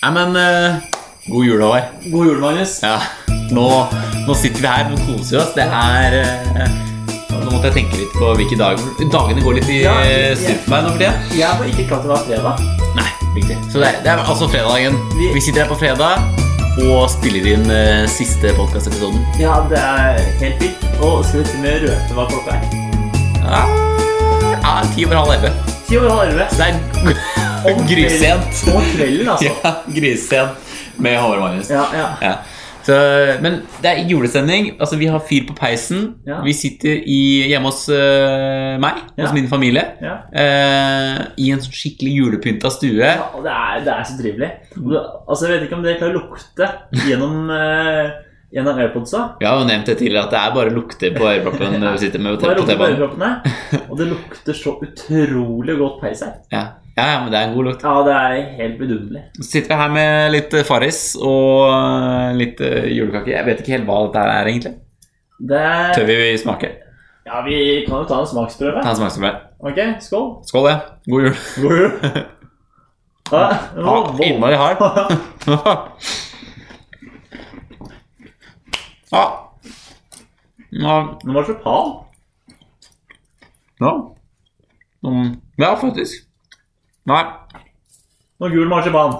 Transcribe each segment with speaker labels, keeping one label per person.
Speaker 1: Nei, men eh, god jul, Håvard.
Speaker 2: God jul, Magnus.
Speaker 1: Ja. Nå, nå sitter vi her og koser oss. Det er eh, Nå måtte jeg tenke litt på hvilke dager Dagene går litt i
Speaker 2: Ja,
Speaker 1: eh,
Speaker 2: ja.
Speaker 1: stup for meg nå for tida.
Speaker 2: Jeg var ikke klar til å være fredag.
Speaker 1: Nei, riktig. Så det er, det er altså fredagen. Vi,
Speaker 2: Vi-
Speaker 1: sitter her på fredag og spiller inn eh, siste podkastepisoden.
Speaker 2: Ja, det er eh, helt fint. Og skal vi til og med røpe hva klokka er?
Speaker 1: Ja, Ah, ja, ti over halv elleve.
Speaker 2: Ti over halv elleve.
Speaker 1: Så det er
Speaker 2: Om
Speaker 1: grisent.
Speaker 2: kvelden- Om kvelden, altså.
Speaker 1: Ja, grisent med Håvard Magnus.
Speaker 2: Ja, ja.
Speaker 1: Ja. Så, men det er julestemning. Altså, vi har fyr på peisen.
Speaker 2: Ja.
Speaker 1: Vi sitter i, hjemme hos øh, meg, hos
Speaker 2: Ja.
Speaker 1: min familie.
Speaker 2: ja.
Speaker 1: eh, I en sånn skikkelig julepynta stue.
Speaker 2: ja og det, er, det er så trivelig. Og det- Altså, Jeg vet ikke om dere klarer å lukte gjennom, eh, gjennom airpodsa.
Speaker 1: Vi har jo nevnt det tidligere at det er bare lukter på øreproppen når vi sitter med
Speaker 2: Bare
Speaker 1: på
Speaker 2: lukter på
Speaker 1: T-banen.
Speaker 2: øreproppene. Og det lukter så utrolig godt peis her.
Speaker 1: Ja. Ja, ja, men det er en god lukt.
Speaker 2: Ja, det er helt vidunderlig.
Speaker 1: Så sitter vi her med litt eh, Farris og eh, litt eh, julekake. Jeg vet ikke helt hva dette her er, egentlig.
Speaker 2: Det
Speaker 1: Tør
Speaker 2: er,
Speaker 1: vi smake?
Speaker 2: ja, Vi kan jo ta en
Speaker 1: Ta
Speaker 2: smaksprøve.
Speaker 1: en smaksprøve.
Speaker 2: Ok, skål.
Speaker 1: Skål, ja. God jul.
Speaker 2: God jul. Ja,
Speaker 1: Ja,
Speaker 2: det var voldsomt.
Speaker 1: Innmari hard. Ja. Ja.
Speaker 2: Den var marsipan.
Speaker 1: ja. Mm. Ja, faktisk. Nei.
Speaker 2: Og gul marsipan.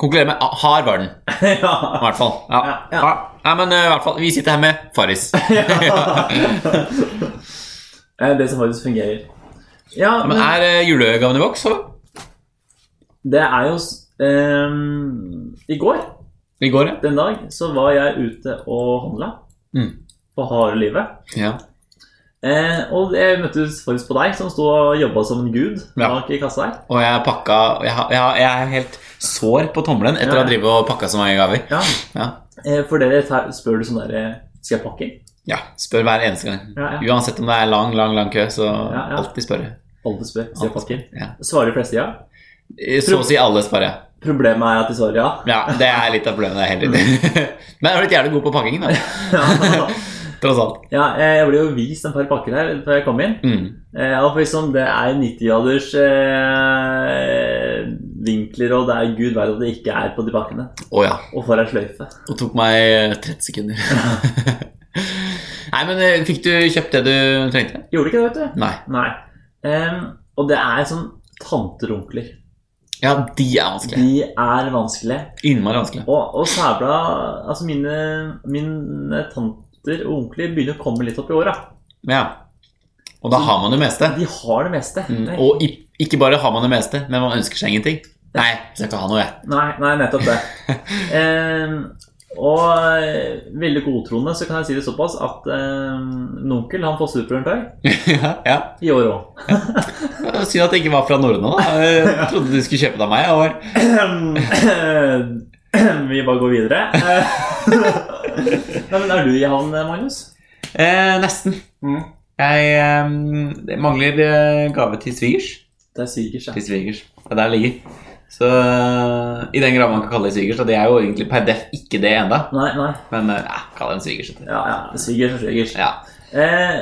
Speaker 1: Konkluderer med ah, hard var den, i
Speaker 2: ja.
Speaker 1: hvert fall. Ja.
Speaker 2: Ja, ja.
Speaker 1: Ja. Nei, men eh, i hvert fall, vi sitter her med Farris.
Speaker 2: Det er det som faktisk fungerer. Ja,
Speaker 1: Men
Speaker 2: men
Speaker 1: er eh, julegaven i boks, eller?
Speaker 2: det er jo s- ehm, I går,
Speaker 1: I går, ja.
Speaker 2: den dag, så var jeg ute og handla.
Speaker 1: Mm.
Speaker 2: På harde livet.
Speaker 1: ja.
Speaker 2: Eh, og jeg møttes faktisk på deg, som sto og jobba som en gud
Speaker 1: Ja.
Speaker 2: bak i kassa her.
Speaker 1: Og jeg pakka jeg, har- jeg, har- jeg er helt sår på tommelen etter å
Speaker 2: Ja.
Speaker 1: ha drevet og pakka så mange gaver.
Speaker 2: Ja.
Speaker 1: Ja.
Speaker 2: Eh, for dere tar, spør du sånn derre Skal jeg pakke?
Speaker 1: ja. Spør hver eneste gang.
Speaker 2: Ja, ja.
Speaker 1: Uansett om det er lang, lang, lang kø, så
Speaker 2: Ja, ja.
Speaker 1: alltid spørre.
Speaker 2: Alle spør. Skal jeg pakke?
Speaker 1: Ja.
Speaker 2: Svarer de fleste ja.
Speaker 1: Så å si alle sparer jeg.
Speaker 2: Problemet er at de svarer ja.
Speaker 1: Ja, det er litt av problemet. det er helt riktig. Men jeg har blitt jævlig god på pakkingen, da.
Speaker 2: ja.
Speaker 1: Tross alt.
Speaker 2: ja eh, jeg ble jo vist en par pakker her før jeg kom inn.
Speaker 1: Mm.
Speaker 2: Eh, og for liksom, det er 90-graders eh, vinkler, og det er gud veit at det ikke er på de bakkene.
Speaker 1: Å ja.
Speaker 2: Og for ei sløyfe.
Speaker 1: Det tok meg 30 sekunder. Nei, men eh, fikk du kjøpt det du trengte?
Speaker 2: Gjorde ikke det, vet du.
Speaker 1: Nei.
Speaker 2: Nei. Em, og det er sånn tanterunkler.
Speaker 1: Ja, de er vanskelige.
Speaker 2: De er vanskelige.
Speaker 1: Innmari vanskelige.
Speaker 2: Og, og sæbla Altså, mine, mine tanter og onkler begynner å komme litt opp i åra.
Speaker 1: Ja. Og da har man det meste.
Speaker 2: De har det meste.
Speaker 1: Mm. Og i, ikke bare har man det meste, men man ønsker seg ingenting. Nei, skal ikke ha noe, jeg.
Speaker 2: Nei, nei, nettopp det. Em, og eh, veldig godtroende så kan jeg si det såpass at um, en onkel han får superhørntøy
Speaker 1: ja, ja.
Speaker 2: i år òg.
Speaker 1: Synd at det ikke var fra Norden, da. Jeg trodde du skulle kjøpe det av meg. Jeg var
Speaker 2: Vi bare går videre. Eh, nei, men Er du i havn, Magnus?
Speaker 1: Eh, nesten.
Speaker 2: Mm.
Speaker 1: Jeg eh, det mangler eh, gave til svigers.
Speaker 2: Det er svigers, ja.
Speaker 1: Til svigers. Det er der det ligger. Så eh, I den grad man kan kalle det svigers, og det er jo egentlig per def ikke det enda
Speaker 2: Nei, nei.
Speaker 1: men eh, ja, kall det en svigers. vet du.
Speaker 2: Ja, ja. Svigers og svigers.
Speaker 1: Ja.
Speaker 2: Eh,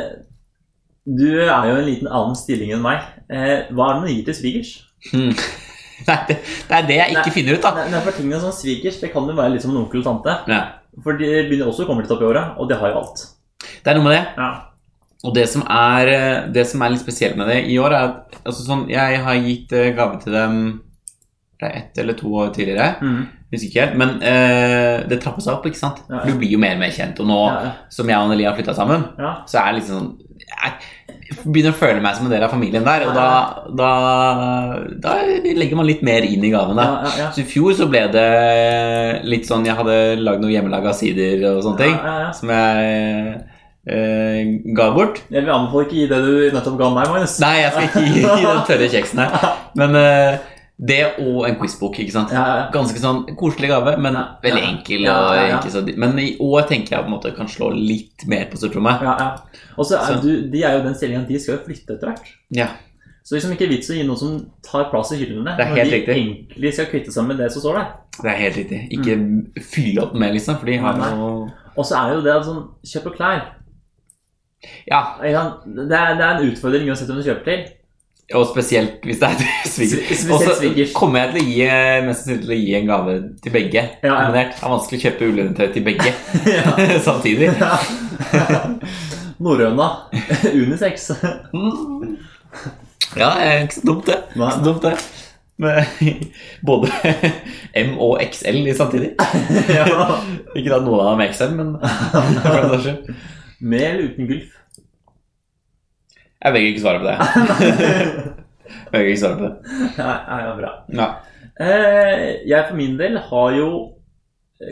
Speaker 2: du er jo i en liten annen stilling enn meg. Eh, hva er det du gir til svigers?
Speaker 1: Hmm. Nei, det, det er det jeg ikke
Speaker 2: Nei.
Speaker 1: finner ut, da.
Speaker 2: Nei, nei, for tingene som svigers, det kan jo være litt som en onkel og tante.
Speaker 1: Ja.
Speaker 2: For de begynner også å komme litt opp i åra, og de har jo alt.
Speaker 1: Det er noe med det.
Speaker 2: Ja.
Speaker 1: Og det som er, eh, det som er litt spesielt med det i år, er at altså, sånn, jeg har gitt eh, gave til dem det er ett eller to år tidligere.
Speaker 2: Mm.
Speaker 1: Husker ikke helt. Men eh, det trappes opp, ikke sant?
Speaker 2: Ja, ja.
Speaker 1: Du blir jo mer og mer kjent. Og nå
Speaker 2: Ja, ja.
Speaker 1: som jeg og Anneli har flytta sammen,
Speaker 2: ja.
Speaker 1: så er det liksom sånn Jeg begynner å føle meg som en del av familien der, og da, da, da legger man litt mer inn i gavene.
Speaker 2: Ja, ja, ja.
Speaker 1: Så i fjor så ble det litt sånn Jeg hadde lagd noen hjemmelaga sider og sånne ting
Speaker 2: Ja, ja, ja.
Speaker 1: som jeg eh, ga bort.
Speaker 2: Jeg vil anbefale ikke gi det du nettopp ga meg, Magnus.
Speaker 1: Nei, jeg skal ikke gi gi den tørre kjeksen her. Men eh, det og en quizbok, ikke sant.
Speaker 2: Ja, ja.
Speaker 1: Ganske sånn koselig gave, men
Speaker 2: Ja.
Speaker 1: veldig
Speaker 2: Ja.
Speaker 1: enkel.
Speaker 2: Ja,
Speaker 1: Og
Speaker 2: ja, ja.
Speaker 1: ikke så, men i år tenker jeg på en måte kan slå litt mer på stortrommet.
Speaker 2: Ja, ja. Og så er
Speaker 1: Så-
Speaker 2: du, de er jo i den stillingen at de skal jo flytte etter hvert.
Speaker 1: Ja.
Speaker 2: Så liksom ikke vits å gi noe som tar plass i hyllene.
Speaker 1: Det er
Speaker 2: når
Speaker 1: helt
Speaker 2: de
Speaker 1: riktig.
Speaker 2: egentlig skal kvitte seg med det som står der.
Speaker 1: Det er helt riktig. Ikke fylle opp med, liksom, for de har
Speaker 2: Mm. Nei.
Speaker 1: jo
Speaker 2: Og så er jo det at sånn Kjøp og klær.
Speaker 1: Ja.
Speaker 2: Ikke sant? Det er, det er en utfordring uansett om du kjøper til.
Speaker 1: Og spesielt hvis det er til
Speaker 2: Spesielt
Speaker 1: svigers. Og så
Speaker 2: svigers.
Speaker 1: kommer jeg til å gi eh, mest sannsynlig til å gi en gave til begge.
Speaker 2: Ja, ja.
Speaker 1: kombinert. Det er vanskelig å kjøpe ullundertøy til begge
Speaker 2: Ja.
Speaker 1: samtidig.
Speaker 2: Norrøna. Unisex.
Speaker 1: Mm. Ja, det er ikke så dumt, det.
Speaker 2: Nei.
Speaker 1: Ikke så dumt det. Med både M og XL i samtidig.
Speaker 2: ja.
Speaker 1: Ikke at noen av dem er XL, men for den saks skyld.
Speaker 2: Med eller uten gulf?
Speaker 1: Jeg velger ikke å svare på det. Jeg velger ikke å svare på det.
Speaker 2: Nei, nei, ja, bra.
Speaker 1: Ja.
Speaker 2: Eh, jeg for min del har jo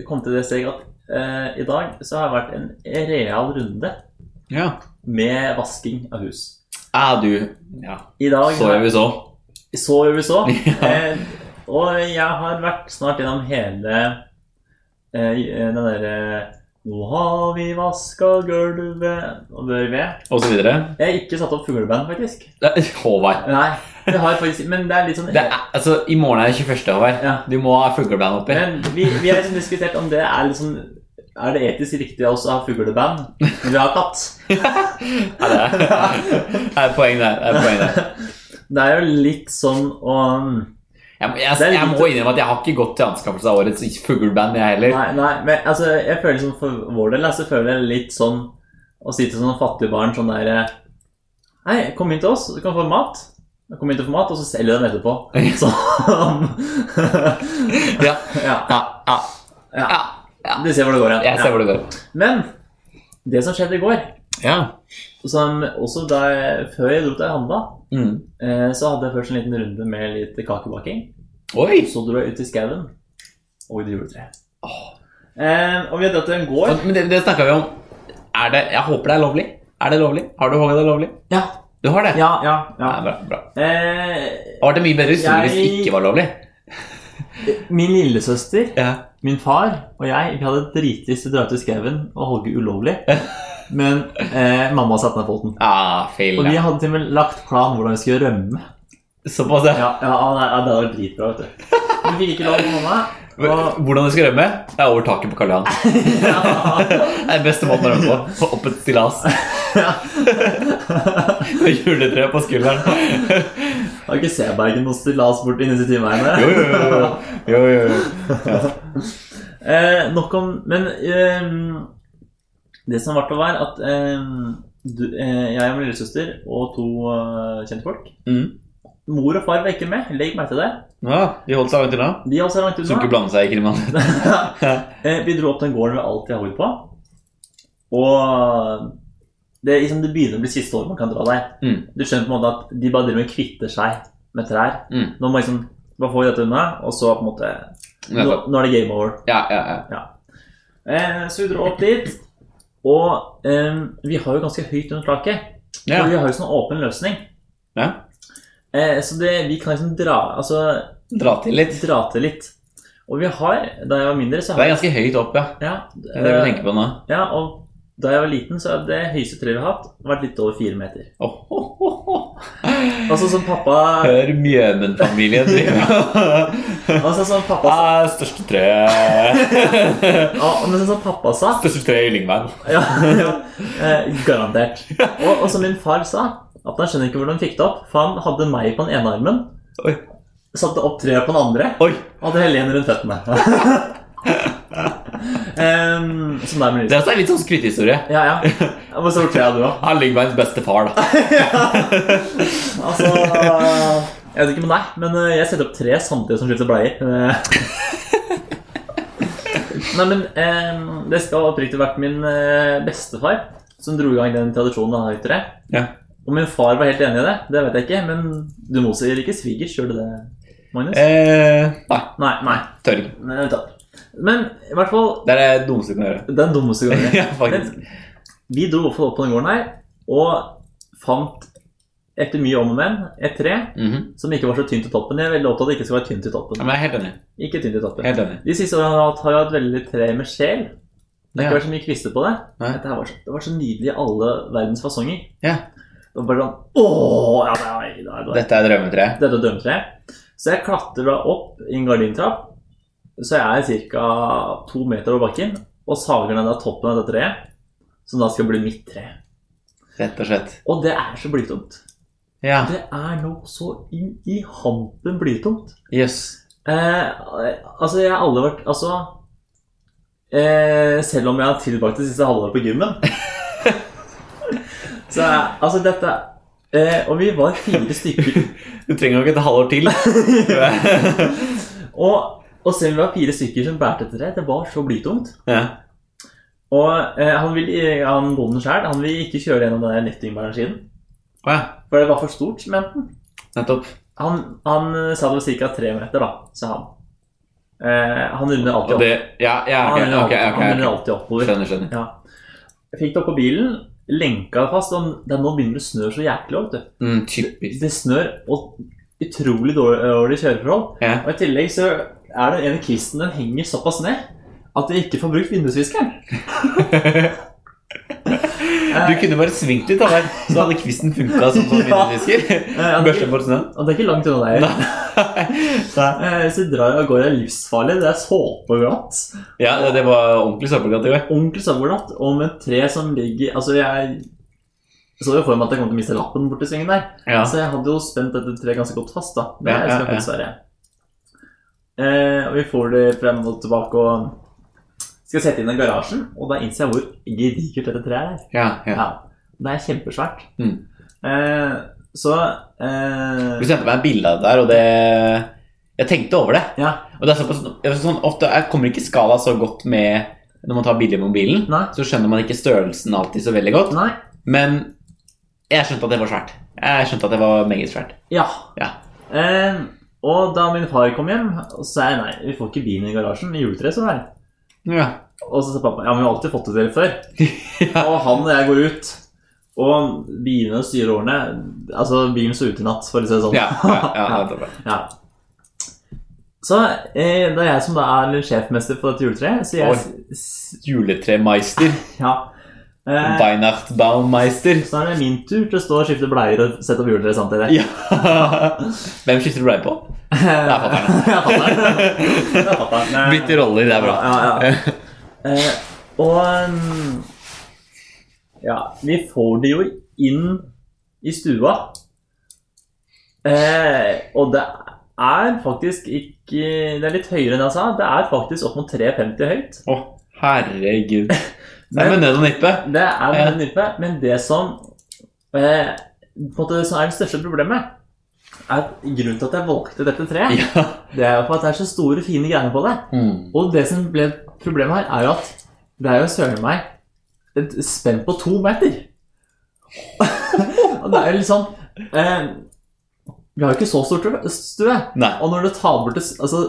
Speaker 2: kommet til det steg at eh, i dag så har det vært en real runde
Speaker 1: ja.
Speaker 2: med vasking av hus.
Speaker 1: Ah, du. Ja.
Speaker 2: I dag
Speaker 1: Så gjør vi så.
Speaker 2: Så gjør vi så.
Speaker 1: Ja.
Speaker 2: Eh, og jeg har vært snart gjennom hele eh, den derre Nå har vi vaska gulvet og bør ved.
Speaker 1: Og så videre.
Speaker 2: Jeg har ikke satt opp fugleband, faktisk.
Speaker 1: Det er- Håvard.
Speaker 2: Nei, det har jeg faktisk Men det er litt sånn
Speaker 1: Det er, altså, I morgen er det 21. Håvard.
Speaker 2: ja.
Speaker 1: Du må ha fugleband oppi.
Speaker 2: Men vi, vi har liksom diskutert om det er liksom Er det etisk riktig av oss å ha fugleband når vi har katt?
Speaker 1: Ja, det er, det er et poeng der. Det er et poeng der.
Speaker 2: Det er jo litt sånn å
Speaker 1: Jeg, jeg,
Speaker 2: Det er
Speaker 1: jeg,
Speaker 2: litt-
Speaker 1: må innrømme at jeg har ikke gått til anskaffelse av årets fugleband, jeg heller.
Speaker 2: Nei, nei, men altså, jeg føler liksom for vår del da, så føler jeg litt sånn å si til sånne fattige barn sånn der eh, Hei, kom inn til oss, du kan få mat. Kom inn til å få mat, og så selger du dem etterpå. Sånn.
Speaker 1: Ja,
Speaker 2: ja,
Speaker 1: ja, ja,
Speaker 2: Ja.
Speaker 1: ja.
Speaker 2: du ser hvor det går hen.
Speaker 1: Jeg ser hvor det går.
Speaker 2: Ja. Men det som skjedde i går,
Speaker 1: Ja.
Speaker 2: som også da jeg, før jeg dro til handla,
Speaker 1: Mm.
Speaker 2: eh, så hadde jeg først en liten runde med litt kakebaking.
Speaker 1: Oi!
Speaker 2: Så dro jeg ut i skauen og ut i juletreet.
Speaker 1: Åh.
Speaker 2: Eh, og vi har dratt til en gård.
Speaker 1: Men det, det snakka vi om. Er det, jeg håper det er lovlig. Er det lovlig? Har du hogd det lovlig?
Speaker 2: Ja,
Speaker 1: Du har det?
Speaker 2: ja, ja. ja.
Speaker 1: Nei, bra, bra.
Speaker 2: Eh,
Speaker 1: Var det mye bedre historie hvis det
Speaker 2: Jeg-
Speaker 1: ikke var lovlig?
Speaker 2: min lillesøster,
Speaker 1: Ja.
Speaker 2: min far og jeg vi hadde dritlyst til å dra ut i skauen og hogge ulovlig. Men eh, mamma satte ned foten.
Speaker 1: Ah, feil.
Speaker 2: Og vi
Speaker 1: ja.
Speaker 2: hadde til og med lagt plan hvordan vi skulle rømme.
Speaker 1: Såpass, ja.
Speaker 2: Ja, ja, nei, ja Det hadde vært dritbra, vet du. Vi fikk ikke lov av mamma. Og,
Speaker 1: Hvordan du skal rømme? Det er over taket på Karl Johan.
Speaker 2: ja,
Speaker 1: Det er den beste måten å rømme på. Opp et stillas.
Speaker 2: ja.
Speaker 1: Med juletre på skulderen.
Speaker 2: Har ikke Sebergen noe stillas borti disse timene?
Speaker 1: Jo, jo, jo. jo, jo, jo.
Speaker 2: Eh, nok om Men ehm, det som var til å være, at ehm, du, eh, jeg og min lillesøster og to eh, kjentfolk
Speaker 1: Mm.
Speaker 2: Mor og far var ikke med. Legg merke til det.
Speaker 1: Ja, de holdt seg langt unna.
Speaker 2: De er også langt
Speaker 1: Som ikke
Speaker 2: unna.
Speaker 1: blande seg i kriminalitet.
Speaker 2: Eh, vi dro opp den gården vi alltid har bodd på. Og det, er liksom, det begynner å bli siste året man kan dra der.
Speaker 1: Mm.
Speaker 2: Du skjønner på en måte at de bare driver og kvitter seg med trær.
Speaker 1: Mm.
Speaker 2: Nå må man liksom bare få dette unna, og så på en måte Nå,
Speaker 1: Nettopp.
Speaker 2: nå er det game over.
Speaker 1: Ja, ja, ja.
Speaker 2: Eh, så vi dro opp dit. Og eh, vi har jo ganske høyt under taket.
Speaker 1: Ja.
Speaker 2: Og vi har jo sånn åpen løsning.
Speaker 1: Ja.
Speaker 2: Eh, så det, vi kan liksom dra Altså
Speaker 1: Dra til litt.
Speaker 2: dra til litt. Og vi har, da jeg var mindre, så
Speaker 1: Det
Speaker 2: har
Speaker 1: er ganske høyt opp, ja.
Speaker 2: ja, eh,
Speaker 1: Det er det vi tenker på nå.
Speaker 2: ja, og da jeg var liten, så har det høyeste treet vi har hatt, vært litt over fire meter.
Speaker 1: Åh, åh, åh, åh.
Speaker 2: Altså som pappa
Speaker 1: Hør Mjømen-familien drive.
Speaker 2: altså, som pappa, sa-
Speaker 1: Ah, Største tre
Speaker 2: ja, men sånn som pappa sa
Speaker 1: Største tre i Lyngveien.
Speaker 2: ja, ja, eh, Garantert. Og, og som min far sa, at han skjønner ikke hvordan han fikk det opp. For han hadde meg på den ene armen,
Speaker 1: Oi.
Speaker 2: satte opp treet på den andre,
Speaker 1: Oi,
Speaker 2: og hadde Helene rundt føttene. um, som det er med
Speaker 1: det
Speaker 2: lyset.
Speaker 1: er litt sånn skrytehistorie.
Speaker 2: Ja, ja. Hvor stort tre hadde du, da?
Speaker 1: Han er Lyngveins beste far, da.
Speaker 2: Altså Jeg vet ikke med deg, men eh, jeg setter opp tre samtidig som skifter bleier. Eh, Nei, men eh, det skal oppriktig vært min eh, bestefar som dro i gang den tradisjonen av høytere.
Speaker 1: Ja.
Speaker 2: Om min far var helt enig i det, det vet jeg ikke, men du motsier ikke svigers, gjør du det, Magnus?
Speaker 1: Eh, nei,
Speaker 2: Nei, nei.
Speaker 1: tør ikke.
Speaker 2: nei, vent da. Men i hvert fall
Speaker 1: Det er det dummeste du kan gjøre.
Speaker 2: den dummeste gangen.
Speaker 1: Ja, faktisk.
Speaker 2: Men vi dro i hvert fall opp på den gården her og fant, etter mye om og men, et tre
Speaker 1: Mhm.
Speaker 2: som ikke var så tynt i toppen. Jeg er veldig opptatt av at det ikke skal være tynt i
Speaker 1: Ja,
Speaker 2: toppen.
Speaker 1: men jeg er helt enig.
Speaker 2: Ikke tynt i toppen.
Speaker 1: Helt enig.
Speaker 2: De siste årene har jeg hatt- har jeg hatt veldig tre med sjel. Det har ikke
Speaker 1: Ja.
Speaker 2: vært så mye kvister på det.
Speaker 1: Nei.
Speaker 2: Dette her var så, det var så nydelig i alle verdens fasonger.
Speaker 1: Ja.
Speaker 2: Det var bare sånn Ååå! Ja, nei, nei, nei, nei.
Speaker 1: Dette er drømmetreet.
Speaker 2: Dette er dømmetreet. Så jeg klatrer da opp i en gardintrapp. Så jeg er ca. to meter over bakken og sager ned da toppen av dette treet, som da skal bli mitt tre.
Speaker 1: Rett og slett.
Speaker 2: Og det er så blytungt.
Speaker 1: Ja.
Speaker 2: Det er nå så inn i hampen blytungt.
Speaker 1: Jøss.
Speaker 2: Eh, altså, jeg har aldri vært Altså eh, Selv om jeg har tilbrakt det siste halvåret på gymmen Så er- altså, dette eh, Og vi var fire stykker.
Speaker 1: Du trenger jo ikke et halvår til.
Speaker 2: Og, og selv om vi var fire stykker som bærte etter det, det var så blytungt.
Speaker 1: ja.
Speaker 2: Og eh, han, vil, han bonden sjøl vil ikke kjøre gjennom den der nettingmaskinen.
Speaker 1: Å ja.
Speaker 2: For det var for stort, mente han.
Speaker 1: Nettopp.
Speaker 2: Han, han eh, sa det var ca. tre meter, da, sa han. Eh, han runder alltid
Speaker 1: Og
Speaker 2: opp.
Speaker 1: det Ja, ja ok,
Speaker 2: Han runder
Speaker 1: ok,
Speaker 2: alltid,
Speaker 1: ok,
Speaker 2: han runder
Speaker 1: ok.
Speaker 2: alltid oppover.
Speaker 1: Skjønner, skjønner.
Speaker 2: Ja. Jeg Fikk det opp på bilen, lenka det fast. Og det, nå begynner det å snø så jæklig. Vet du.
Speaker 1: Mm, typisk.
Speaker 2: Det snør og utrolig dårlig, eh, dårlig kjøreforhold.
Speaker 1: Ja.
Speaker 2: Og i tillegg så er den ene kvisten den henger såpass ned at jeg ikke får brukt vindusviskeren.
Speaker 1: Du kunne bare svingt litt, da, der, så hadde kvisten funka som sånn
Speaker 2: Ja.
Speaker 1: vindusvisker.
Speaker 2: Eh, og det er
Speaker 1: Børste
Speaker 2: ikke-
Speaker 1: bort snøen.
Speaker 2: og det er ikke langt unna der.
Speaker 1: Nei.
Speaker 2: Eh, Så jeg drar jeg av gårde det er livsfarlig. Det er såpeglatt.
Speaker 1: Ja, det- det var ordentlig søppelglatt i går.
Speaker 2: Ordentlig såpeglatt. Og med et tre som ligger Altså, jeg så jo for meg at jeg kom til å miste lappen borti svingen der.
Speaker 1: Ja.
Speaker 2: Så jeg hadde jo spent dette treet ganske godt fast, da. Det
Speaker 1: Ja,
Speaker 2: skal
Speaker 1: ja,
Speaker 2: jeg
Speaker 1: ja.
Speaker 2: dessverre. Eh, og vi får det frem og tilbake og skal sette inn i garasjen, og da innser jeg hvor gedigert dette treet er.
Speaker 1: Ja, ja.
Speaker 2: Ja. Det er kjempesvært.
Speaker 1: Mm.
Speaker 2: Eh, så
Speaker 1: Du
Speaker 2: eh,
Speaker 1: sendte meg et bilde av det der, og det Jeg tenkte over det.
Speaker 2: Ja.
Speaker 1: Og det er såpass, jeg, er sånn, ofte, jeg kommer ikke skala så godt med når man tar bilde i mobilen.
Speaker 2: Nei.
Speaker 1: Så skjønner man ikke størrelsen alltid så veldig godt.
Speaker 2: Nei.
Speaker 1: Men jeg skjønte at det var svært. Jeg skjønte at det var meget svært.
Speaker 2: Ja.
Speaker 1: Ja.
Speaker 2: Eh, og da min far kom hjem, så sa jeg nei, vi får ikke bilen i garasjen. Juletreet står der.
Speaker 1: Ja.
Speaker 2: Og så sa pappa ja, men vi har alltid fått det til før. Og han og jeg går ut. Og bilene styrer årene. Altså, bilen står ute i natt, for å si det sånn.
Speaker 1: Ja, ja, ja, det var bra.
Speaker 2: Ja. Så eh, det er jeg som da er sjefmester på dette juletreet, så jeg s-
Speaker 1: Juletremeister.
Speaker 2: s- Ja. Eh,
Speaker 1: Weihnachtsbaummeister.
Speaker 2: Så er det min tur til å stå og skifte bleier og sette opp juletreet samtidig.
Speaker 1: Ja. Hvem skifter du bleie på?
Speaker 2: Det
Speaker 1: er fatter'n.
Speaker 2: Det er fatter'n. Det er fatter'n. Eh,
Speaker 1: Bytter roller, det er bra.
Speaker 2: Ja, ja, ja. Eh, Og mm, ja, vi får det jo inn i stua. Eh, og det er faktisk ikke Det er litt høyere enn jeg sa. Det er faktisk opp mot 3,50 høyt.
Speaker 1: Å, herregud. Det er
Speaker 2: Men-
Speaker 1: med nød og nippe.
Speaker 2: Det er
Speaker 1: Ja.
Speaker 2: en nype, men det som eh, på en måte det som er det største problemet, er at grunnen til at jeg valgte dette treet,
Speaker 1: Ja.
Speaker 2: det er jo for at det er så store, fine greier på det.
Speaker 1: Mm.
Speaker 2: Og det som ble problemet her, er jo at det er jo søren meg et spenn på to meter. og det er jo litt sånn eh, Vi har jo ikke så stort stue.
Speaker 1: Nei.
Speaker 2: Og når du tar bort det s- Altså,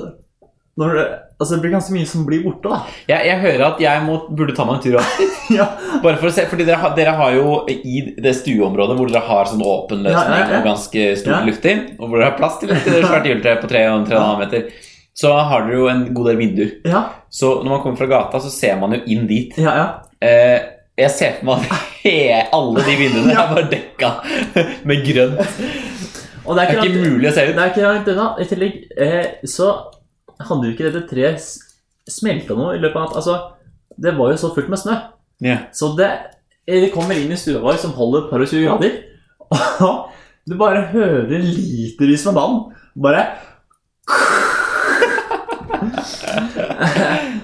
Speaker 2: når det, altså det blir ganske mye som blir borte, da.
Speaker 1: Jeg, jeg hører at jeg må, burde ta meg en tur opp.
Speaker 2: ja,
Speaker 1: Bare for å se, fordi dere, har- dere har jo i det stueområdet hvor dere har sånn åpen løsning
Speaker 2: Ja, ja, ja.
Speaker 1: og ganske stort
Speaker 2: Ja.
Speaker 1: luft i, og hvor dere har plass til et svært juletre på 3,5 meter, så har dere jo en god del vinduer.
Speaker 2: ja,
Speaker 1: Så når man kommer fra gata, så ser man jo inn dit.
Speaker 2: ja, ja.
Speaker 1: Eh, jeg ser for meg at he- alle de vinduene er bare dekka med grønt.
Speaker 2: Og
Speaker 1: Det
Speaker 2: det er
Speaker 1: er
Speaker 2: ikke,
Speaker 1: ikke
Speaker 2: langt-
Speaker 1: mulig å se ut.
Speaker 2: Det er ikke langt unna. I tillegg eh, så hadde jo ikke dette treet smelta noe i løpet av natt. Altså, det var jo så fullt med snø.
Speaker 1: Ja.
Speaker 2: Så det, eh, vi kommer inn i stua vår som holder et par og 20 grader, og du bare hører litervis med vann. Bare